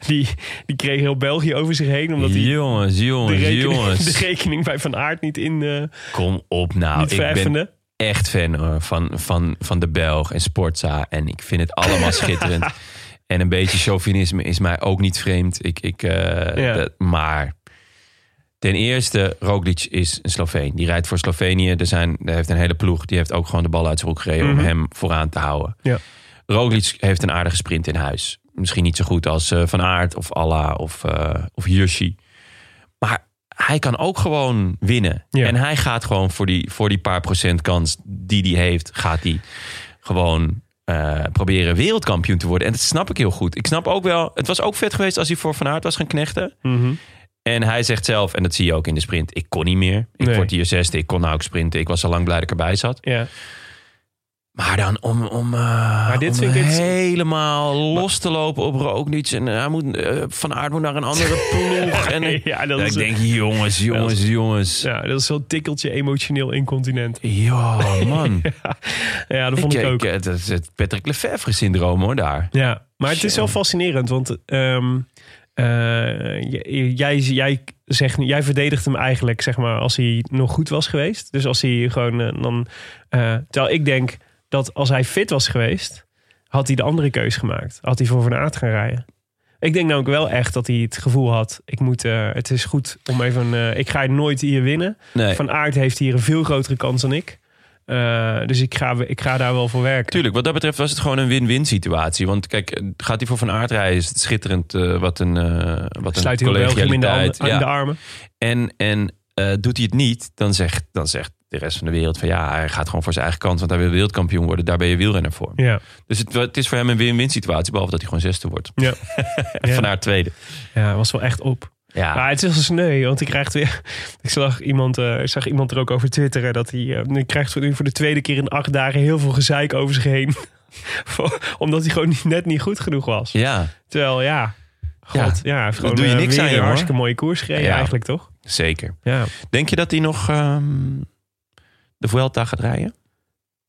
Speaker 2: die, die kreeg heel België over zich heen. Omdat hij
Speaker 1: Jongens,
Speaker 2: de
Speaker 1: jongens,
Speaker 2: rekening,
Speaker 1: jongens.
Speaker 2: [LAUGHS] de rekening bij Van Aert niet in... eh,
Speaker 1: Kom op nou.
Speaker 2: Niet
Speaker 1: Ik
Speaker 2: verheffende.
Speaker 1: ben echt fan hoor, van, van, van de Belg en Sportza. En ik vind het allemaal schitterend. En een beetje chauvinisme is mij ook niet vreemd. Ik, ik, eh,
Speaker 2: Ja.
Speaker 1: dat- maar ten eerste, Roglic is een Sloveen. Die rijdt voor Slovenië. Er zijn, er heeft een hele ploeg. Die heeft ook gewoon de bal uit zijn broek gereden om hem vooraan te houden.
Speaker 2: Ja.
Speaker 1: Roglic heeft een aardige sprint in huis. Misschien niet zo goed als eh, Van Aert of Alla of, eh of Hirschi. Maar hij kan ook gewoon winnen.
Speaker 2: Ja.
Speaker 1: En hij gaat gewoon voor die, voor die paar procent kans die hij heeft, gaat hij gewoon eh, proberen wereldkampioen te worden. En dat snap ik heel goed. Ik snap ook wel, het was ook vet geweest als hij voor Van Aert was gaan knechten. En hij zegt zelf, en dat zie je ook in de sprint, ik kon niet meer. Ik
Speaker 2: Nee.
Speaker 1: word hier zesde, ik kon nou ook sprinten. Ik was al lang blij dat ik erbij zat.
Speaker 2: ja.
Speaker 1: Maar dan om, om, eh,
Speaker 2: dit
Speaker 1: om
Speaker 2: vind ik het-
Speaker 1: helemaal los te lopen op Roglic. En hij moet, eh, Van Aert moet naar een andere
Speaker 2: [LAUGHS]
Speaker 1: ploeg. En ik-
Speaker 2: Ja, dat
Speaker 1: dat
Speaker 2: is
Speaker 1: ik
Speaker 2: een-
Speaker 1: denk, jongens, jongens, jongens.
Speaker 2: ja, dat is zo'n tikkeltje emotioneel incontinent.
Speaker 1: Ja,
Speaker 2: [LAUGHS]
Speaker 1: man.
Speaker 2: Ja, dat vond ik, ook.
Speaker 1: eh, Het is het Patrick Lefevre-syndroom hoor, daar.
Speaker 2: Ja, maar het is wel fascinerend, want ehm, eh, j- jij, jij, zegt, jij verdedigt hem eigenlijk zeg maar, als hij nog goed was geweest. Dus als hij gewoon eh, dan. eh, terwijl ik denk dat als hij fit was geweest, had hij de andere keus gemaakt. Had hij voor Van Aert gaan rijden. Ik denk namelijk wel echt dat hij het gevoel had: ik moet, eh, het is goed om even. eh, ik ga nooit hier winnen.
Speaker 1: Nee.
Speaker 2: Van Aert heeft hier een veel grotere kans dan ik. Eh, dus ik ga, ik ga daar wel voor werken.
Speaker 1: Tuurlijk, wat dat betreft was het gewoon een win-win situatie. Want kijk, gaat hij voor Van Aert rijden, is het schitterend eh, wat een, eh wat een
Speaker 2: Sluit heel België in de, handen-
Speaker 1: collegialiteit.
Speaker 2: in de armen.
Speaker 1: En, en eh, doet hij het niet, dan zegt, dan zegt de rest van de wereld van ja, hij gaat gewoon voor zijn eigen kant, want hij wil wereldkampioen worden. Daar ben je wielrenner voor.
Speaker 2: Ja,
Speaker 1: Dus het, het is voor hem een win-win situatie, behalve dat hij gewoon zesde wordt.
Speaker 2: ja.
Speaker 1: En
Speaker 2: Ja.
Speaker 1: Van Aert tweede.
Speaker 2: ja, was wel echt op.
Speaker 1: Ja,
Speaker 2: Maar het is wel sneu, want ik krijg weer. [LAUGHS] Ik zag iemand, eh, ik zag iemand er ook over twitteren dat hij. eh, nu krijgt voor, nu voor de tweede keer in acht dagen heel veel gezeik over zich heen. [LAUGHS] Voor- Omdat hij gewoon niet- net niet goed genoeg was.
Speaker 1: ja
Speaker 2: Terwijl ja. God, ja, hij heeft gewoon
Speaker 1: doe je
Speaker 2: eh,
Speaker 1: niks
Speaker 2: weer
Speaker 1: aan,
Speaker 2: een
Speaker 1: jongen.
Speaker 2: hartstikke mooie koers gereden
Speaker 1: Ja.
Speaker 2: eigenlijk, toch?
Speaker 1: zeker.
Speaker 2: Ja.
Speaker 1: Denk je dat hij nog ehm, de Vuelta gaat rijden?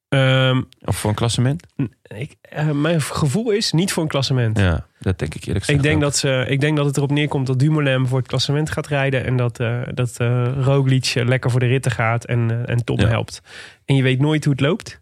Speaker 2: Ehm,
Speaker 1: Of voor een klassement?
Speaker 2: ik, eh, mijn gevoel is niet voor een klassement.
Speaker 1: Ja, dat denk ik eerlijk gezegd.
Speaker 2: Ik denk,
Speaker 1: ook.
Speaker 2: dat ze, ik denk dat het erop neerkomt dat Dumoulin voor het klassement gaat rijden. En dat, eh dat eh, Roglic eh, lekker voor de ritten gaat en, eh, en Tom
Speaker 1: Ja.
Speaker 2: helpt. En je weet nooit hoe het loopt.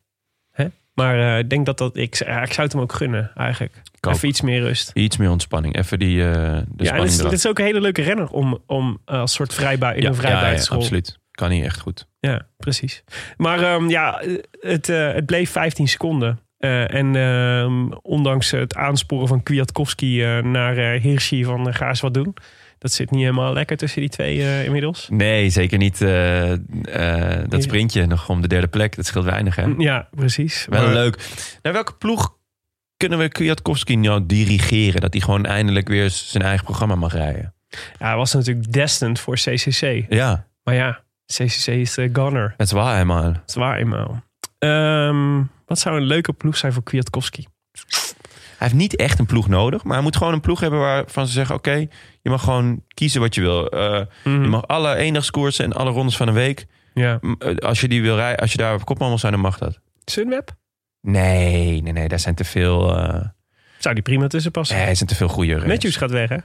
Speaker 2: Hè? Maar eh, ik denk dat dat... Ik, ja, ik zou het hem ook gunnen eigenlijk.
Speaker 1: ook.
Speaker 2: Even iets meer rust.
Speaker 1: Iets meer ontspanning. Even die eh, de
Speaker 2: ja, en het
Speaker 1: spanning
Speaker 2: is,
Speaker 1: eraf.
Speaker 2: het is ook een hele leuke renner om, om eh, als soort vrijbui in een vrijbuit te school.
Speaker 1: absoluut. Kan niet echt goed.
Speaker 2: Ja, precies. Maar ehm, ja, het, eh, het bleef 15 seconden. Eh, en ehm, ondanks het aansporen van Kwiatkowski eh, naar eh Hirschi van eh, ga eens wat doen. Dat zit niet helemaal lekker tussen die twee eh, inmiddels.
Speaker 1: Nee, zeker niet eh, eh, dat sprintje nog om de derde plek. Dat scheelt weinig, hè?
Speaker 2: Mm, Ja, precies.
Speaker 1: Wel
Speaker 2: Maar-
Speaker 1: leuk. Naar welke ploeg kunnen we Kwiatkowski nou dirigeren? Dat hij gewoon eindelijk weer zijn eigen programma mag rijden.
Speaker 2: Ja, hij was natuurlijk destined voor CCC.
Speaker 1: Ja,
Speaker 2: Maar ja, CCC is de gunner.
Speaker 1: dat is waar, helemaal.
Speaker 2: Dat is waar eenmaal. Ehm, wat zou een leuke ploeg zijn voor Kwiatkowski?
Speaker 1: Hij heeft niet echt een ploeg nodig, maar hij moet gewoon een ploeg hebben waarvan ze zeggen: oké, je mag gewoon kiezen wat je wil. Eh,
Speaker 2: Mhm.
Speaker 1: Je mag alle eendagskoersen en alle rondes van een week.
Speaker 2: Ja.
Speaker 1: m, eh, Als je die wil rijden, als je daar op kopman wil zijn, dan mag dat.
Speaker 2: Sunweb?
Speaker 1: Nee, nee, nee, daar zijn te veel. eh
Speaker 2: Zou die prima tussen passen.
Speaker 1: nee, er zijn te veel goede renners.
Speaker 2: Matthews gaat weg, hè?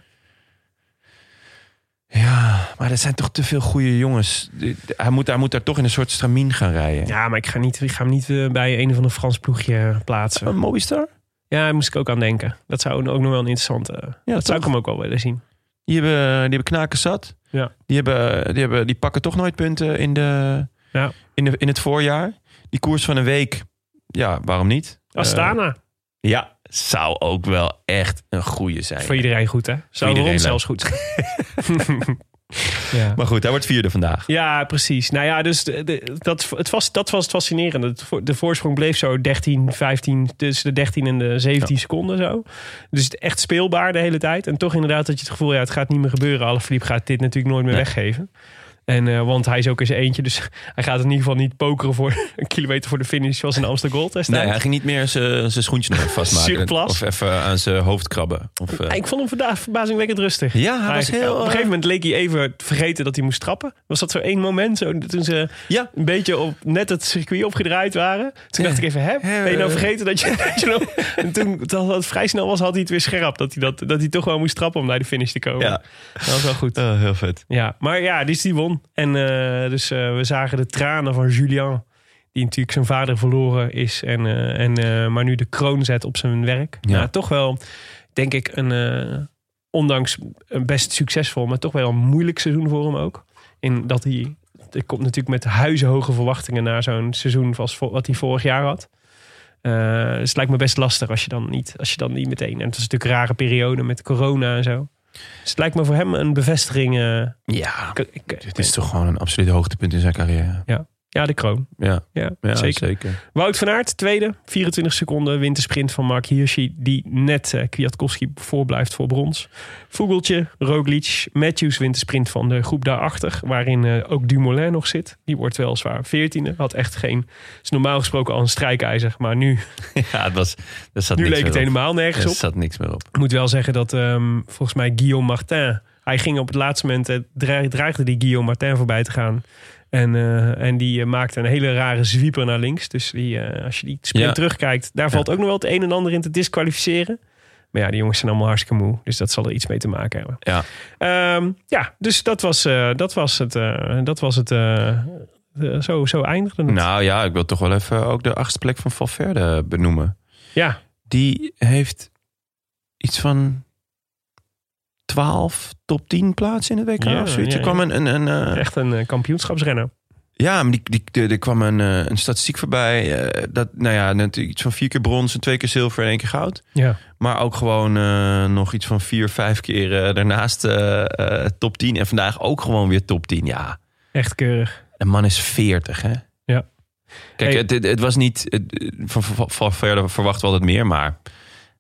Speaker 1: Ja, maar er zijn toch te veel goede jongens. Die- Hij moet, hij moet daar toch in een soort stramien gaan rijden.
Speaker 2: Ja, maar ik ga, niet, ik ga hem niet eh, bij een of ander Frans ploegje plaatsen.
Speaker 1: Een Mobistar?
Speaker 2: Ja, daar moest ik ook aan denken. Dat zou ook nog wel een interessante... eh,
Speaker 1: Ja,
Speaker 2: dat zou ik
Speaker 1: toch?
Speaker 2: hem ook wel willen zien.
Speaker 1: Die hebben, die hebben knaken zat.
Speaker 2: Ja.
Speaker 1: Die, hebben, die, hebben, die pakken toch nooit punten in, de,
Speaker 2: Ja.
Speaker 1: in, de, in het voorjaar. Die koers van een week, ja, waarom niet?
Speaker 2: Astana,
Speaker 1: Eh, ja, zou ook wel echt een goede zijn.
Speaker 2: Eh, voor iedereen goed, hè? Zou voor
Speaker 1: iedereen
Speaker 2: ons
Speaker 1: leuk.
Speaker 2: zelfs goed [LAUGHS] zijn. ja.
Speaker 1: Maar goed, hij wordt vierde vandaag.
Speaker 2: ja, precies. Nou ja, dus de- de- dat, het was, dat was het fascinerende. Het vo- De voorsprong bleef zo 13, 15, tussen de 13 en de 17 seconden zo. Dus het echt speelbaar de hele tijd. En toch inderdaad dat je het gevoel, ja, het gaat niet meer gebeuren. Alaphilippe gaat dit natuurlijk nooit meer
Speaker 1: Nee.
Speaker 2: weggeven. En, eh, want hij is ook eens eentje, dus hij gaat in ieder geval niet pokeren voor [LAUGHS] een kilometer voor de finish zoals in Amsterdam Gold destijds.
Speaker 1: Nee, hij ging niet meer zijn zijn schoentje nog even vastmaken.
Speaker 2: [LAUGHS] Surplus.
Speaker 1: of even aan zijn hoofd krabben. Of, eh,
Speaker 2: Ik vond hem vandaag verbazingwekkend rustig.
Speaker 1: Ja, hij was
Speaker 2: Eigenlijk,
Speaker 1: heel,
Speaker 2: Op een
Speaker 1: eh,
Speaker 2: gegeven moment leek hij even te vergeten dat hij moest trappen. Was dat zo één moment zo, toen ze
Speaker 1: Ja.
Speaker 2: een beetje op, net het circuit opgedraaid waren? Toen dacht ik even, hè, ben je nou vergeten dat je... [LAUGHS] Dat je nog- en toen dat het vrij snel was, had hij het weer scherp. Dat hij, dat, dat hij toch wel moest trappen om naar de finish te komen.
Speaker 1: ja.
Speaker 2: Dat was wel goed.
Speaker 1: Eh, heel vet.
Speaker 2: Ja, maar ja, dus die won. En eh, dus eh, we zagen de tranen van Julian. Die natuurlijk zijn vader verloren is. En, eh, en, eh, maar nu de kroon zet op zijn werk.
Speaker 1: Ja.
Speaker 2: Ja. toch wel, denk ik, een, eh, ondanks een best succesvol, maar toch wel een moeilijk seizoen voor hem ook. In dat hij, hij komt natuurlijk met huizenhoge verwachtingen naar zo'n seizoen als vo- wat hij vorig jaar had. Eh, dus het lijkt me best lastig als je dan niet, als je dan niet meteen. En het was natuurlijk een rare periode met corona en zo. Dus het lijkt me voor hem een bevestiging. eh,
Speaker 1: Ja,
Speaker 2: ik- ik-
Speaker 1: dit is toch gewoon een absoluut hoogtepunt in zijn carrière.
Speaker 2: ja, de kroon.
Speaker 1: Ja,
Speaker 2: Ja,
Speaker 1: ja
Speaker 2: zeker.
Speaker 1: zeker. [LAUGHS]
Speaker 2: Wout van Aert, tweede. 24 seconden wintersprint van Mark Hirschi. Die net eh, Kwiatkowski voorblijft voor brons. Vogeltje, Roglic, Matthews wintersprint van de groep daarachter. Waarin eh, ook Dumoulin nog zit. Die wordt weliswaar 14e. Had echt geen... Is normaal gesproken al een strijkijzer. Maar nu,
Speaker 1: Ja, het was, er zat
Speaker 2: nu
Speaker 1: niks
Speaker 2: leek het
Speaker 1: meer op.
Speaker 2: helemaal nergens
Speaker 1: Er
Speaker 2: op.
Speaker 1: zat niks meer op.
Speaker 2: Ik moet wel zeggen dat ehm, volgens mij Guillaume Martin. Hij ging op het laatste moment. eh, dre- dreigde die Guillaume Martin voorbij te gaan. En, eh, en die eh, maakte een hele rare zwieper naar links. Dus die, eh, als je die sprint
Speaker 1: Ja.
Speaker 2: terugkijkt. daar valt ook nog wel het een en ander in te disqualificeren. Maar ja, die jongens zijn allemaal hartstikke moe. Dus dat zal er iets mee te maken hebben.
Speaker 1: Ja.
Speaker 2: Ehm, ja, dus dat was, eh, dat was het. eh, dat was het eh, eh, zo, zo eindigde het.
Speaker 1: Nou ja, ik wil toch wel even ook de achtste plek van Valverde benoemen.
Speaker 2: Ja,
Speaker 1: Die heeft iets van 12 top 10 plaatsen in het WK
Speaker 2: Ja,
Speaker 1: of zoiets.
Speaker 2: ja,
Speaker 1: er kwam een, een, een, eh,
Speaker 2: echt een eh, kampioenschapsrenner.
Speaker 1: ja, maar die, die, de- er kwam een, eh, een statistiek voorbij. eh, dat, nou ja, net iets van vier keer brons en twee keer zilver en één keer goud.
Speaker 2: Ja.
Speaker 1: Maar ook gewoon eh, nog iets van vier, vijf keer eh, daarnaast eh, eh, top 10. En vandaag ook gewoon weer top 10. Ja,
Speaker 2: Echt keurig.
Speaker 1: De man is 40, hè?
Speaker 2: Ja.
Speaker 1: Kijk,
Speaker 2: Hey.
Speaker 1: het, het, het was niet. het- van, van, van verder verwacht wel het meer, maar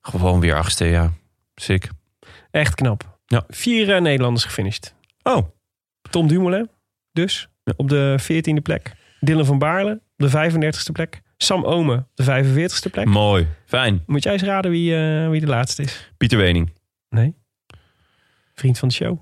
Speaker 1: gewoon weer achtste, ja. Sick.
Speaker 2: Echt knap.
Speaker 1: Ja.
Speaker 2: Vier eh, Nederlanders gefinished.
Speaker 1: Oh,
Speaker 2: Tom Dumoulin dus op de 14e plek. Dylan van Baarle op de 35e plek. Sam Omen op de 45e plek.
Speaker 1: mooi. Fijn.
Speaker 2: Moet jij eens raden wie, eh, wie de laatste is?
Speaker 1: Pieter Wening.
Speaker 2: Vriend van de show.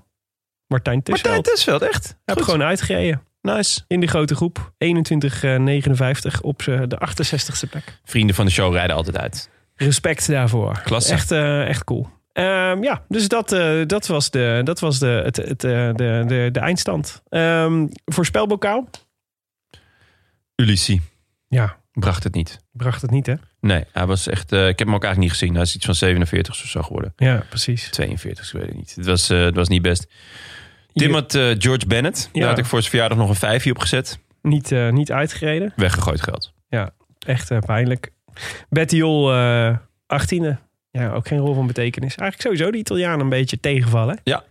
Speaker 2: Martijn Tussel.
Speaker 1: Martijn
Speaker 2: Hij
Speaker 1: Tesveld, echt.
Speaker 2: heeft
Speaker 1: Goed.
Speaker 2: gewoon uitgereden
Speaker 1: Nice.
Speaker 2: in de grote groep. 21,59 op eh, de 68e plek.
Speaker 1: Vrienden van de show rijden altijd uit.
Speaker 2: Respect daarvoor.
Speaker 1: Klasse.
Speaker 2: Echt, eh, echt cool. Ehm, ja, dus dat, eh, dat was, de, dat was de, het, het, eh, de, de, de eindstand. Ehm voorspelbokaal?
Speaker 1: Ulissi
Speaker 2: Ja,
Speaker 1: bracht het niet.
Speaker 2: bracht het niet hè?
Speaker 1: Nee, hij was echt. eh, ik heb hem ook eigenlijk niet gezien. Hij is iets van 47 of zo geworden.
Speaker 2: Ja, precies.
Speaker 1: 42, ik weet het niet. Het was, eh, het was niet best. Tim had eh, George Bennett. Daar
Speaker 2: Ja.
Speaker 1: had ik voor zijn verjaardag nog een vijfje op gezet.
Speaker 2: Niet, eh, niet uitgereden.
Speaker 1: Weggegooid geld.
Speaker 2: Echt eh, pijnlijk. Bettiol, eh 18e. Ja, ook geen rol van betekenis. Eigenlijk sowieso de Italianen een beetje tegenvallen. hè?
Speaker 1: Ja,
Speaker 2: Had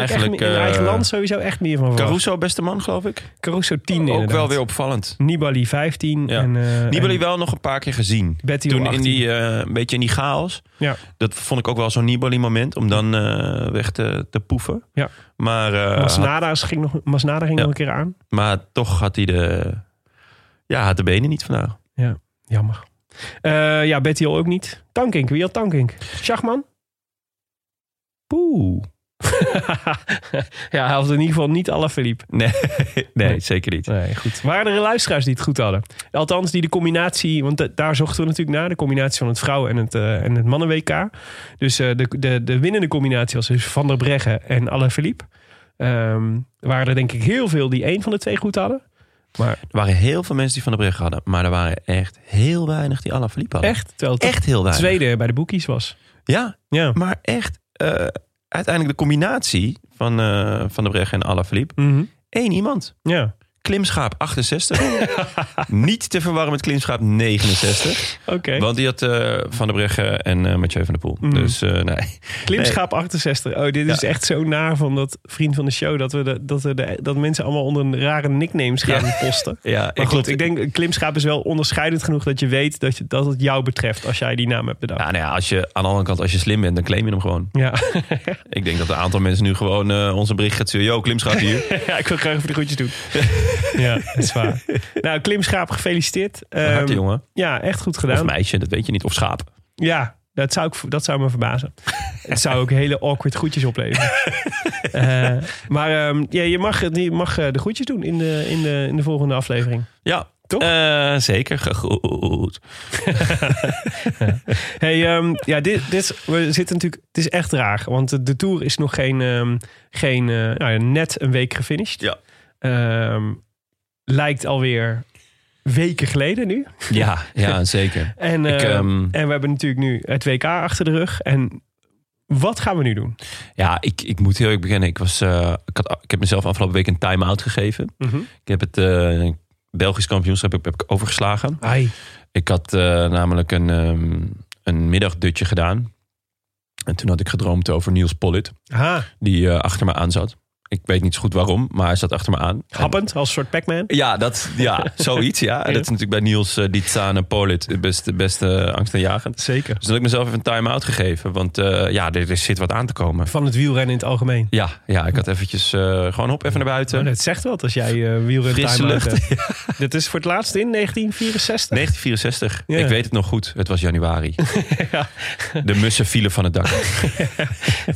Speaker 2: ik echt
Speaker 1: Eigenlijk,
Speaker 2: in
Speaker 1: eh,
Speaker 2: eigen land sowieso echt meer van verwacht.
Speaker 1: Caruso, beste man, geloof ik.
Speaker 2: Caruso 10
Speaker 1: Ook
Speaker 2: inderdaad.
Speaker 1: wel weer opvallend.
Speaker 2: Nibali 15.
Speaker 1: Ja.
Speaker 2: En, eh,
Speaker 1: Nibali
Speaker 2: en
Speaker 1: wel nog een paar keer gezien.
Speaker 2: Bettiol
Speaker 1: Toen
Speaker 2: 18.
Speaker 1: in die, eh, een beetje in die chaos.
Speaker 2: Ja.
Speaker 1: Dat vond ik ook wel zo'n Nibali-moment om dan eh, weg te, te poeven.
Speaker 2: Ja.
Speaker 1: Maar, eh, had-
Speaker 2: Masnada ging, nog, Masnada ging
Speaker 1: Ja.
Speaker 2: nog een keer aan.
Speaker 1: maar toch had hij de, ja, had de benen niet vandaag.
Speaker 2: Jammer. Eh, ja, Bettiol ook niet. Tankink, wie had Tankink? Schachman?
Speaker 1: Poeh.
Speaker 2: [LAUGHS] ja, hij had in ieder geval niet Alaphilippe.
Speaker 1: Nee, nee,
Speaker 2: Nee.
Speaker 1: zeker niet.
Speaker 2: Nee, goed. Waren er luisteraars die het goed hadden? Althans, die de combinatie... Want da- daar zochten we natuurlijk naar. De combinatie van het vrouwen- en het, eh, en het mannen-WK. Dus eh, de, de, de winnende combinatie was dus Van der Breggen en Alaphilippe. Ehm waren er denk ik heel veel die één van de twee goed hadden.
Speaker 1: Er waren heel veel mensen die Van de Brugge hadden. Maar er waren echt heel weinig die Alaphilippe hadden.
Speaker 2: Echt? Terwijl het
Speaker 1: Echt heel
Speaker 2: de
Speaker 1: weinig.
Speaker 2: tweede bij de boekies was.
Speaker 1: Ja,
Speaker 2: Ja.
Speaker 1: maar echt. eh, uiteindelijk de combinatie van eh, Van de Brugge en Alaphilippe.
Speaker 2: Mhm.
Speaker 1: Eén iemand.
Speaker 2: Ja.
Speaker 1: Klimschaap 68. [LAUGHS] Niet te verwarren met Klimschaap 69.
Speaker 2: Oké.
Speaker 1: Want die had eh, Van der Breggen en eh, Mathieu van der Poel. Dus eh, nee.
Speaker 2: Klimschaap 68. Oh, dit is echt zo naar van dat vriend van de show. Dat, we de, dat, we de, dat mensen allemaal onder een rare nicknames gaan posten.
Speaker 1: [LAUGHS] Ja,
Speaker 2: Maar
Speaker 1: ik
Speaker 2: goed,
Speaker 1: klopt.
Speaker 2: ik denk Klimschaap is wel onderscheidend genoeg dat je weet dat, je, dat het jou betreft als jij die naam hebt bedacht.
Speaker 1: Ja, nou ja, als je, aan de andere kant, als je slim bent, dan claim je hem gewoon.
Speaker 2: Ja, [LAUGHS]
Speaker 1: Ik denk dat een aantal mensen nu gewoon eh onze bericht gaat sturen. Yo, Klimschaap [LAUGHS] hier.
Speaker 2: ja ik wil graag even de groetjes
Speaker 1: [LAUGHS]
Speaker 2: doen. ja, dat is waar. Nou, Klimschaap, gefeliciteerd. Ehm,
Speaker 1: Harte jongen.
Speaker 2: Ja, echt goed
Speaker 1: Of
Speaker 2: gedaan.
Speaker 1: meisje, dat weet je niet. Of schaap.
Speaker 2: Ja, dat zou, ik, dat zou me
Speaker 1: [LAUGHS]
Speaker 2: verbazen. Het zou ook hele awkward groetjes opleveren. Eh, maar ehm, ja, je mag, je mag eh, de groetjes doen in de, in de, in de volgende aflevering.
Speaker 1: Ja,
Speaker 2: Toch?
Speaker 1: Eh, zeker. Goed.
Speaker 2: Hey, ehm, ja, dit, dit is, we zitten natuurlijk, het is echt raar. Want de, de Tour is nog geen, ehm, geen eh, nou ja, net een week gefinished.
Speaker 1: Ja.
Speaker 2: Ehm, lijkt alweer weken geleden nu.
Speaker 1: Ja, [LAUGHS] ja zeker.
Speaker 2: En,
Speaker 1: Ik,
Speaker 2: ehm,
Speaker 1: ehm,
Speaker 2: en we hebben natuurlijk nu het WK achter de rug. En wat gaan we nu doen?
Speaker 1: Ja, ik, ik moet heel eerlijk bekennen. Ik, was, eh, ik, had, ik heb mezelf afgelopen week een time-out gegeven.
Speaker 2: Mhm.
Speaker 1: Ik heb het eh, Belgisch kampioenschap heb, heb ik overgeslagen.
Speaker 2: Ai.
Speaker 1: Ik had eh, namelijk een, ehm, een middagdutje gedaan. En toen had ik gedroomd over Niels Pollitt.
Speaker 2: Aha,
Speaker 1: Die eh, achter me aan zat. Ik weet niet zo goed waarom, maar hij zat achter me aan. En-
Speaker 2: happend als soort Pac-Man.
Speaker 1: Ja, dat, [LAUGHS] ja zoiets. Ja. En dat is natuurlijk bij Niels uh, Dietzane Pollitt het beste, beste angstaanjagend.
Speaker 2: Zeker.
Speaker 1: Dus dan heb ik mezelf even een time-out gegeven. Want eh, ja, er, er zit wat aan te komen.
Speaker 2: Van het wielrennen in het algemeen.
Speaker 1: Ja, ja ik had eventjes eh, gewoon op, even naar
Speaker 2: Maar
Speaker 1: buiten.
Speaker 2: Oh, dat zegt wat als jij eh wielrennen
Speaker 1: Frisse
Speaker 2: time-out
Speaker 1: lucht.
Speaker 2: [LAUGHS] hebt. Dit is voor het laatst in 1964.
Speaker 1: 1964.
Speaker 2: Ja.
Speaker 1: Ik weet het nog goed. Het was januari.
Speaker 2: [LAUGHS] Ja.
Speaker 1: De mussen vielen van het dak.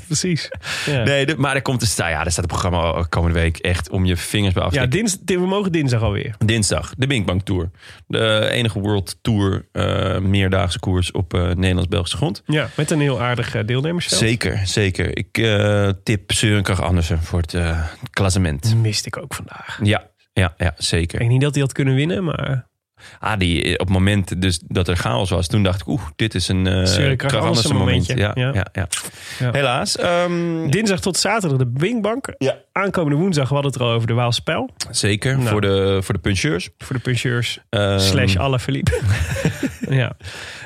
Speaker 2: Precies. Ja.
Speaker 1: Nee, de- maar er komt een sta. Ja, er staat een programma oh, komende week echt om je vingers bij af. te
Speaker 2: Ja,
Speaker 1: likken.
Speaker 2: dins, di- we mogen dinsdag alweer.
Speaker 1: Dinsdag, de Binkbank Tour. De enige World Tour eh, meerdaagse koers op eh, Nederlands-Belgische grond.
Speaker 2: Ja, met een heel aardig eh, deelnemersveld.
Speaker 1: Zeker, zeker. Ik eh, tip Sørenkrach Andersen voor het eh, klassement.
Speaker 2: Dat miste ik ook vandaag.
Speaker 1: Ja, ja, ja,
Speaker 2: Ik
Speaker 1: zeker.
Speaker 2: denk niet dat hij had kunnen winnen, maar
Speaker 1: Ah, die, eh, op het moment dus dat er chaos was, toen dacht ik, oeh, dit is een eh
Speaker 2: Søren Kragh
Speaker 1: Kragh Andersen
Speaker 2: Andersen
Speaker 1: moment. Ja,
Speaker 2: momentje.
Speaker 1: ja.
Speaker 2: Ja.
Speaker 1: Ja,
Speaker 2: Ja.
Speaker 1: Helaas. ehm,
Speaker 2: dinsdag tot zaterdag de Bingbank.
Speaker 1: Ja.
Speaker 2: Aankomende woensdag we hadden het er al over de Waalspel.
Speaker 1: zeker
Speaker 2: Nou.
Speaker 1: voor, de, voor de puncheurs.
Speaker 2: Voor de puncheurs
Speaker 1: Ehm,
Speaker 2: slash alle verliep. [LAUGHS] ja.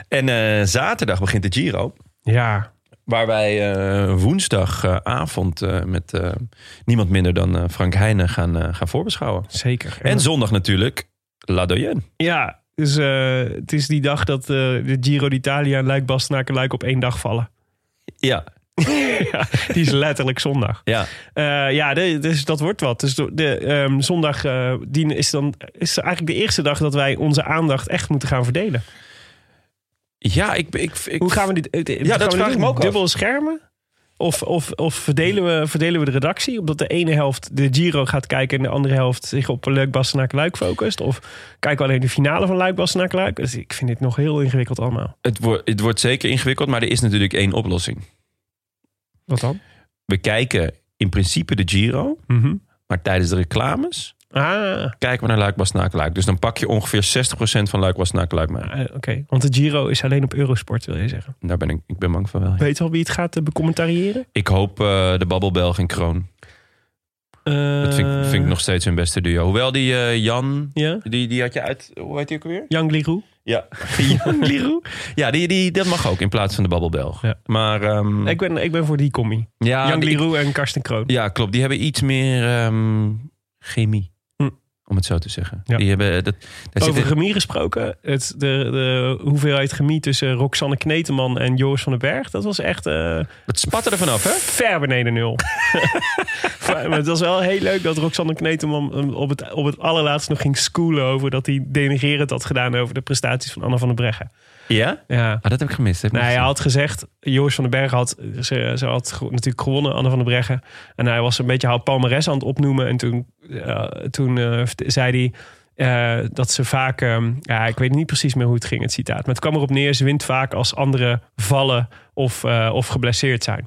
Speaker 1: en eh, zaterdag begint de Giro.
Speaker 2: ja,
Speaker 1: Waar wij eh, woensdagavond met eh, niemand minder dan eh, Frank Heijnen gaan, eh, gaan voorbeschouwen.
Speaker 2: zeker.
Speaker 1: En zondag natuurlijk La Doyenne.
Speaker 2: ja, dus eh, het is die dag dat eh, de Giro d'Italia en Luik Bastenaken en Luik op één dag vallen. [LAUGHS]
Speaker 1: Ja,
Speaker 2: ja, die is letterlijk zondag.
Speaker 1: ja.
Speaker 2: Eh, ja, de- dus dat wordt wat. Dus de, de, ehm, zondag eh, die is dan is eigenlijk de eerste dag dat wij onze aandacht echt moeten gaan verdelen.
Speaker 1: ja ik, ik, ik,
Speaker 2: Hoe gaan we dit? eh, dit- gaan we dit
Speaker 1: vraag ik
Speaker 2: doen?
Speaker 1: me ook af.
Speaker 2: Dubbele schermen? Of, of, of verdelen, we, verdelen we de redactie? Omdat de ene helft de Giro gaat kijken en de andere helft zich op Luik Bastenaak Luik focust? Of kijken we alleen de finale van Luik Bastenaak Luik? Dus ik vind dit nog heel ingewikkeld allemaal.
Speaker 1: Het, wordt het wordt zeker ingewikkeld, maar er is natuurlijk één oplossing.
Speaker 2: Wat dan?
Speaker 1: We kijken in principe de Giro,
Speaker 2: Mhm.
Speaker 1: maar tijdens de reclames
Speaker 2: Ah,
Speaker 1: kijken we naar Luik, Bastenaken, Luik. Dus dan pak je ongeveer 60% van Luik, Bastenaken, Luik mee.
Speaker 2: eh, oké. Want de Giro is alleen op Eurosport, wil je zeggen.
Speaker 1: Daar ben ik, ik ben bang van wel. ja.
Speaker 2: Weet je al wie het gaat eh, becommentariëren?
Speaker 1: Ik hoop eh, de Babbelbelg en Kroon. Dat vind, ik- vind ik nog steeds hun beste duo. Hoewel die eh, Jan,
Speaker 2: Ja?
Speaker 1: die, die had je uit... Hoe heet die ook [LAUGHS] weer?
Speaker 2: Yang Liru.
Speaker 1: Ja. Jan Leroux. Ja, die, die, dat mag ook in plaats van de Babbelbelg.
Speaker 2: Ja.
Speaker 1: Maar ehm,
Speaker 2: Ik ben, ik ben voor die commie.
Speaker 1: ja,
Speaker 2: Yang
Speaker 1: Ah, die-
Speaker 2: Liru en Karsten Kroon.
Speaker 1: Ja, klopt. Die hebben iets meer ehm, chemie.
Speaker 2: Hm.
Speaker 1: Om het zo te zeggen.
Speaker 2: Ja.
Speaker 1: Die hebben, dat, daar
Speaker 2: Over
Speaker 1: zitten,
Speaker 2: chemie gesproken. Het, de, de hoeveelheid chemie tussen Roxanne Kneteman en Joris van den Berg. Dat was echt eh,
Speaker 1: dat spat er vanaf, hè?
Speaker 2: ver beneden
Speaker 1: [LAUGHS]
Speaker 2: nul. maar maar het was wel heel leuk dat Roxanne Kneteman hem op het, op het allerlaatst nog ging schoolen over dat hij denigerend had gedaan over de prestaties van Anna van den Breggen.
Speaker 1: Ja?
Speaker 2: Ja.
Speaker 1: Ah, dat heb ik gemist. Dat heb ik
Speaker 2: Nou, hij
Speaker 1: niet
Speaker 2: had gezegd, Joris van den Berg had, ze, ze had ge- natuurlijk gewonnen, Anne van den Breggen. En hij was een beetje haar palmares aan het opnoemen. En toen, eh, toen eh, vert- zei hij eh, dat ze vaak, ehm, ja, ik weet niet precies meer hoe het ging, het citaat. Maar het kwam erop neer, ze wint vaak als anderen vallen of, eh, of geblesseerd zijn.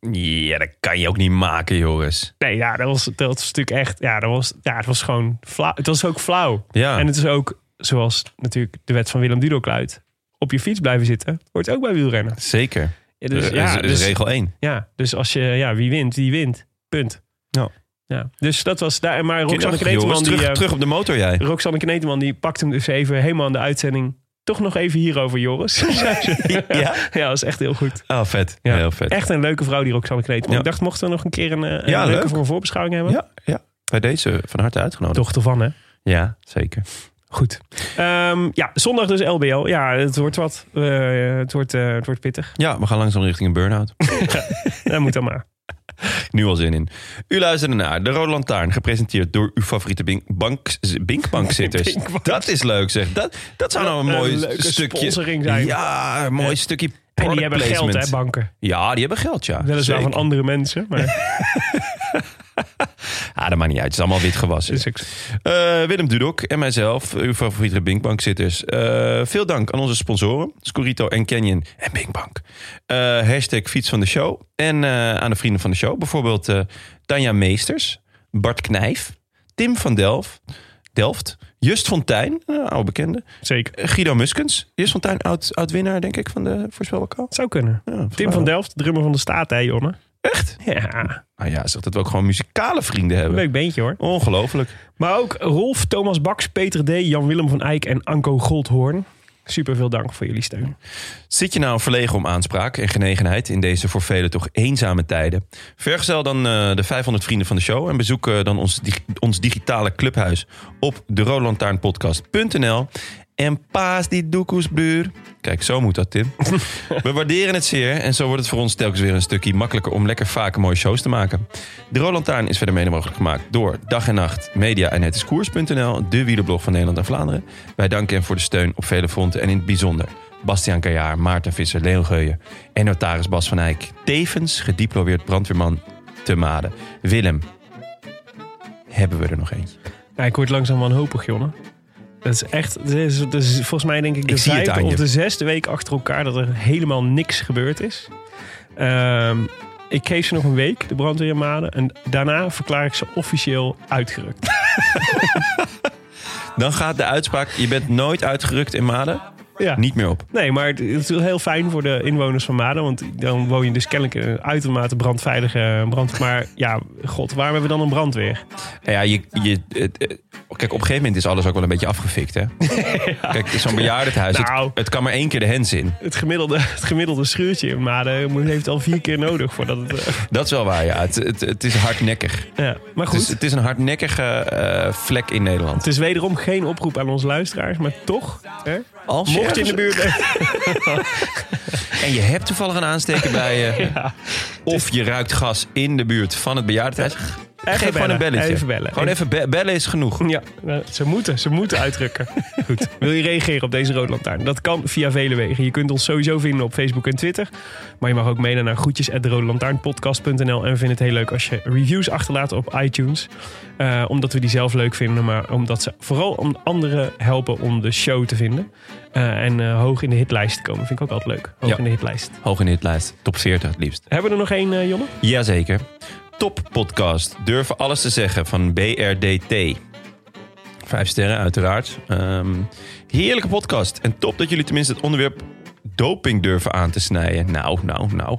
Speaker 1: gezien. Ja, dat kan je ook niet maken, Joris.
Speaker 2: Nee, ja, dat was, dat was natuurlijk echt, ja, dat was, ja, het was gewoon flauw. Het was ook flauw.
Speaker 1: Ja.
Speaker 2: En het is ook, zoals natuurlijk de wet van Willem Dudokluit, op je fiets blijven zitten, hoort ook bij wielrennen.
Speaker 1: Zeker.
Speaker 2: Ja,
Speaker 1: Dus, is, is regel 1.
Speaker 2: Ja, dus als je, ja, wie wint, die wint. Punt.
Speaker 1: Ja.
Speaker 2: ja. Dus dat was daar. Maar Roxanne
Speaker 1: Kinderachtig, Joris.
Speaker 2: Kneteman, die,
Speaker 1: Terug,
Speaker 2: eh,
Speaker 1: terug op de motor, jij.
Speaker 2: Roxanne Kneteman, die pakt hem dus even helemaal aan de uitzending. Toch nog even hierover, Joris. [LAUGHS] zei ze.
Speaker 1: Ja?
Speaker 2: ja, dat is echt heel goed.
Speaker 1: Oh, vet.
Speaker 2: Ja.
Speaker 1: Heel vet.
Speaker 2: Echt een leuke vrouw, die Roxanne Kneteman.
Speaker 1: Ja.
Speaker 2: Ik dacht, mochten we nog een keer een, eh, een
Speaker 1: Ja,
Speaker 2: leuke
Speaker 1: leuk.
Speaker 2: voor een voorbeschouwing hebben?
Speaker 1: Ja, ja. Bij deze van harte uitgenodigd.
Speaker 2: Dochter van, hè?
Speaker 1: Ja, zeker.
Speaker 2: Goed. Ehm, ja, zondag dus LBL. Ja, het wordt wat. Eh, het, wordt, eh, het wordt pittig.
Speaker 1: Ja, we gaan langzaam richting een burn-out.
Speaker 2: Dat moet dan maar.
Speaker 1: [LAUGHS] Nu al zin in. U luisterde naar De Rode Lantaarn, gepresenteerd door uw favoriete bink, bank, [LAUGHS] binkbankzitters.
Speaker 2: Binkbank.
Speaker 1: Dat is leuk zeg. Dat, dat zou nou een
Speaker 2: Een
Speaker 1: mooi
Speaker 2: leuke
Speaker 1: stukje...
Speaker 2: sponsoring zijn.
Speaker 1: Ja, een mooi stukje
Speaker 2: En
Speaker 1: product
Speaker 2: die hebben geld,
Speaker 1: placement.
Speaker 2: hè, banken.
Speaker 1: Ja, die hebben geld, ja.
Speaker 2: Weliswaar
Speaker 1: Zeker.
Speaker 2: van andere mensen, maar [LAUGHS]
Speaker 1: Ah, dat maakt niet uit. Het is allemaal wit gewassen.
Speaker 2: is ook zo.
Speaker 1: Eh, Willem Dudok en mijzelf, uw favoriete Binkbankzitters. Eh veel dank aan onze sponsoren, Scorito en Canyon en Binkbank. Eh, hashtag fiets van de show. En eh, aan de vrienden van de show, bijvoorbeeld eh Tanja Meesters, Bart Knijf, Tim van Delft, Delft Just Fontijn, een oude bekende,
Speaker 2: zeker.
Speaker 1: eh, Guido Muskens. Just Fontijn, oud, oud winnaar denk ik van de voorspelbokaal.
Speaker 2: Het zou kunnen.
Speaker 1: Ja,
Speaker 2: Tim van Delft, drummer van de staat, hè, Jonne?
Speaker 1: Echt?
Speaker 2: Ja,
Speaker 1: Nou ja, zeg dat we ook gewoon muzikale vrienden hebben.
Speaker 2: leuk beentje hoor.
Speaker 1: Ongelooflijk.
Speaker 2: Maar ook Rolf, Thomas Baks, Peter D., Jan-Willem van Eyck en Anko Goldhoorn. Super veel dank voor jullie steun.
Speaker 1: Zit je nou verlegen om aanspraak en genegenheid in deze voor velen toch eenzame tijden? Vergezel dan eh, de 500 vrienden van de show en bezoek eh, dan ons, dig- ons digitale clubhuis op derolantaarnpodcast.nl. En paas die doekoes, buur. Kijk, zo moet dat, Tim. We waarderen het zeer en zo wordt het voor ons telkens weer een stukje makkelijker om lekker vaker mooie shows te maken. De Rolantaarn is verder mede mogelijk gemaakt door Dag en Nacht, Media en Het is Koers.nl, de wielerblog van Nederland en Vlaanderen. Wij danken hem voor de steun op vele fronten en in het bijzonder Bastiaan Kajaar, Maarten Visser, Leon Geuyen en notaris Bas van Eyck. Tevens gediplomeerd brandweerman te Maden. Willem, hebben we er nog eentje?
Speaker 2: Ja, ik word langzaam wanhopig, Jonne. Dat is echt, dat is, dat is volgens mij denk ik de
Speaker 1: Ik zie het
Speaker 2: vijfde
Speaker 1: aan je.
Speaker 2: of de zesde week achter elkaar dat er helemaal niks gebeurd is. Ehm, ik geef ze nog een week, de brandweermaden. En daarna verklaar ik ze officieel uitgerukt.
Speaker 1: [LAUGHS] Dan gaat de uitspraak, je bent nooit uitgerukt in Maden,
Speaker 2: Ja.
Speaker 1: niet meer op.
Speaker 2: Nee, maar het het is wel heel fijn voor de inwoners van Maden. Want dan woon je dus kennelijk in een uitermate brandveilige eh, brand. Maar ja, god, waarom hebben we dan een brandweer?
Speaker 1: Ja, je, je, het- het- kijk, op een gegeven moment is alles ook wel een beetje afgefikt,
Speaker 2: [LAUGHS]
Speaker 1: hè? Kijk, zo'n bejaardentehuis, het-
Speaker 2: Nou.
Speaker 1: het, kan maar één keer de hens in.
Speaker 2: Het gemiddelde, [LAUGHS] het gemiddelde schuurtje in Maden moet- heeft al vier keer nodig voordat het... eh, [LAUGHS]
Speaker 1: Dat is wel waar, ja. Het, het, het is hardnekkig.
Speaker 2: ja. Maar
Speaker 1: Het
Speaker 2: goed,
Speaker 1: is, het is een hardnekkige eh, vlek in Nederland.
Speaker 2: het is wederom geen oproep aan onze luisteraars. Maar toch, hè,
Speaker 1: Als
Speaker 2: mocht je in de
Speaker 1: ergens-
Speaker 2: buurt [LAUGHS] bent...
Speaker 1: En je hebt toevallig een
Speaker 2: [LAUGHS]
Speaker 1: aansteker bij je. Of je ruikt gas in de buurt van het bejaardentehuis. Geef
Speaker 2: Even
Speaker 1: gewoon een
Speaker 2: bellen,
Speaker 1: belletje.
Speaker 2: even bellen.
Speaker 1: Gewoon even be- bellen is genoeg.
Speaker 2: Ja, nou, ze moeten, ze moeten uitrukken. [LAUGHS] Goed. Wil je reageren op deze Rode Lantaarn? Dat kan via vele wegen. Je kunt ons sowieso vinden op Facebook en Twitter. Maar je mag ook mailen naar groetjes@rodelantaarnpodcast.nl En we vinden het heel leuk als je reviews achterlaat op iTunes. Eh, omdat we die zelf leuk vinden, maar omdat ze vooral om anderen helpen om de show te vinden. Eh, en eh, hoog in de hitlijst te komen. Vind ik ook altijd leuk. Hoog
Speaker 1: Ja.
Speaker 2: in de hitlijst.
Speaker 1: Hoog in de hitlijst. Top 40 het liefst.
Speaker 2: Hebben we er nog één, eh, Jonne?
Speaker 1: Jazeker. Top podcast. Durven alles te zeggen van BRDT. Vijf sterren uiteraard. Ehm, heerlijke podcast. En top dat jullie tenminste het onderwerp doping durven aan te snijden. Nou, nou, nou.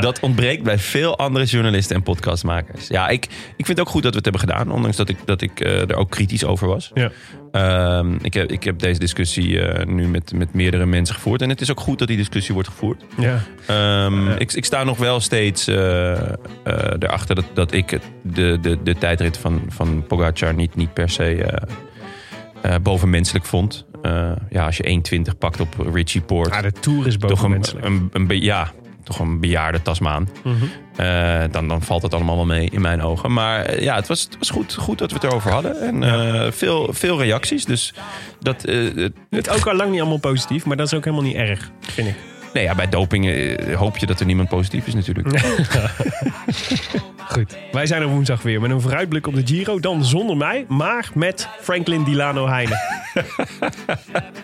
Speaker 1: dat ontbreekt bij veel andere journalisten en podcastmakers. Ja, ik, ik vind het ook goed dat we het hebben gedaan. Ondanks dat ik, dat ik eh, er ook kritisch over was.
Speaker 2: Ja.
Speaker 1: Ehm, ik, heb, ik heb deze discussie eh, nu met, met meerdere mensen gevoerd. En het is ook goed dat die discussie wordt gevoerd.
Speaker 2: Ja.
Speaker 1: Ehm, ik, ik sta nog wel steeds eh, eh, erachter dat, dat ik het- de, de, de tijdrit van, van Pogacar niet, niet per se eh, eh, bovenmenselijk vond. Eh, ja, als je 1,20 pakt op Richie Poort.
Speaker 2: Ah, de Tour is
Speaker 1: toch een,
Speaker 2: bovenmenselijk. Mhm.
Speaker 1: een, een be- ja, toch een bejaarde Tasmaan. Eh, dan, dan valt het allemaal wel mee in mijn ogen. Maar eh, ja, het was, het was goed, goed dat we het erover hadden. En eh, veel, veel reacties. Dus dat, eh, het-
Speaker 2: Het ook al lang niet allemaal positief, maar dat is ook helemaal niet erg, vind ik.
Speaker 1: nee, ja, bij doping eh, hoop je dat er niemand positief is
Speaker 2: [LAUGHS]
Speaker 1: natuurlijk.
Speaker 2: Goed. Wij zijn er woensdag weer met een vooruitblik op de Giro. Dan zonder mij, maar met Franklin Dilano Heine.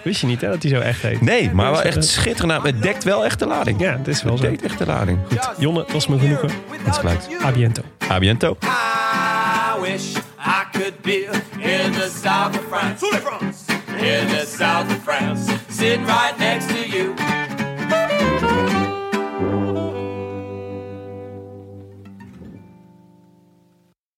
Speaker 2: Wist je niet, hè, dat hij zo echt heet?
Speaker 1: Nee, maar wel echt schitterend. aan- Het dekt wel echt de lading.
Speaker 2: Ja, het is wel
Speaker 1: het
Speaker 2: zo.
Speaker 1: dekt echt de lading. Goed,
Speaker 2: Jonne, het was me genoegen.
Speaker 1: het geluid.
Speaker 2: A biento.
Speaker 1: A biento.
Speaker 4: I wish I could be in the south of France. In the south of France. Sitting right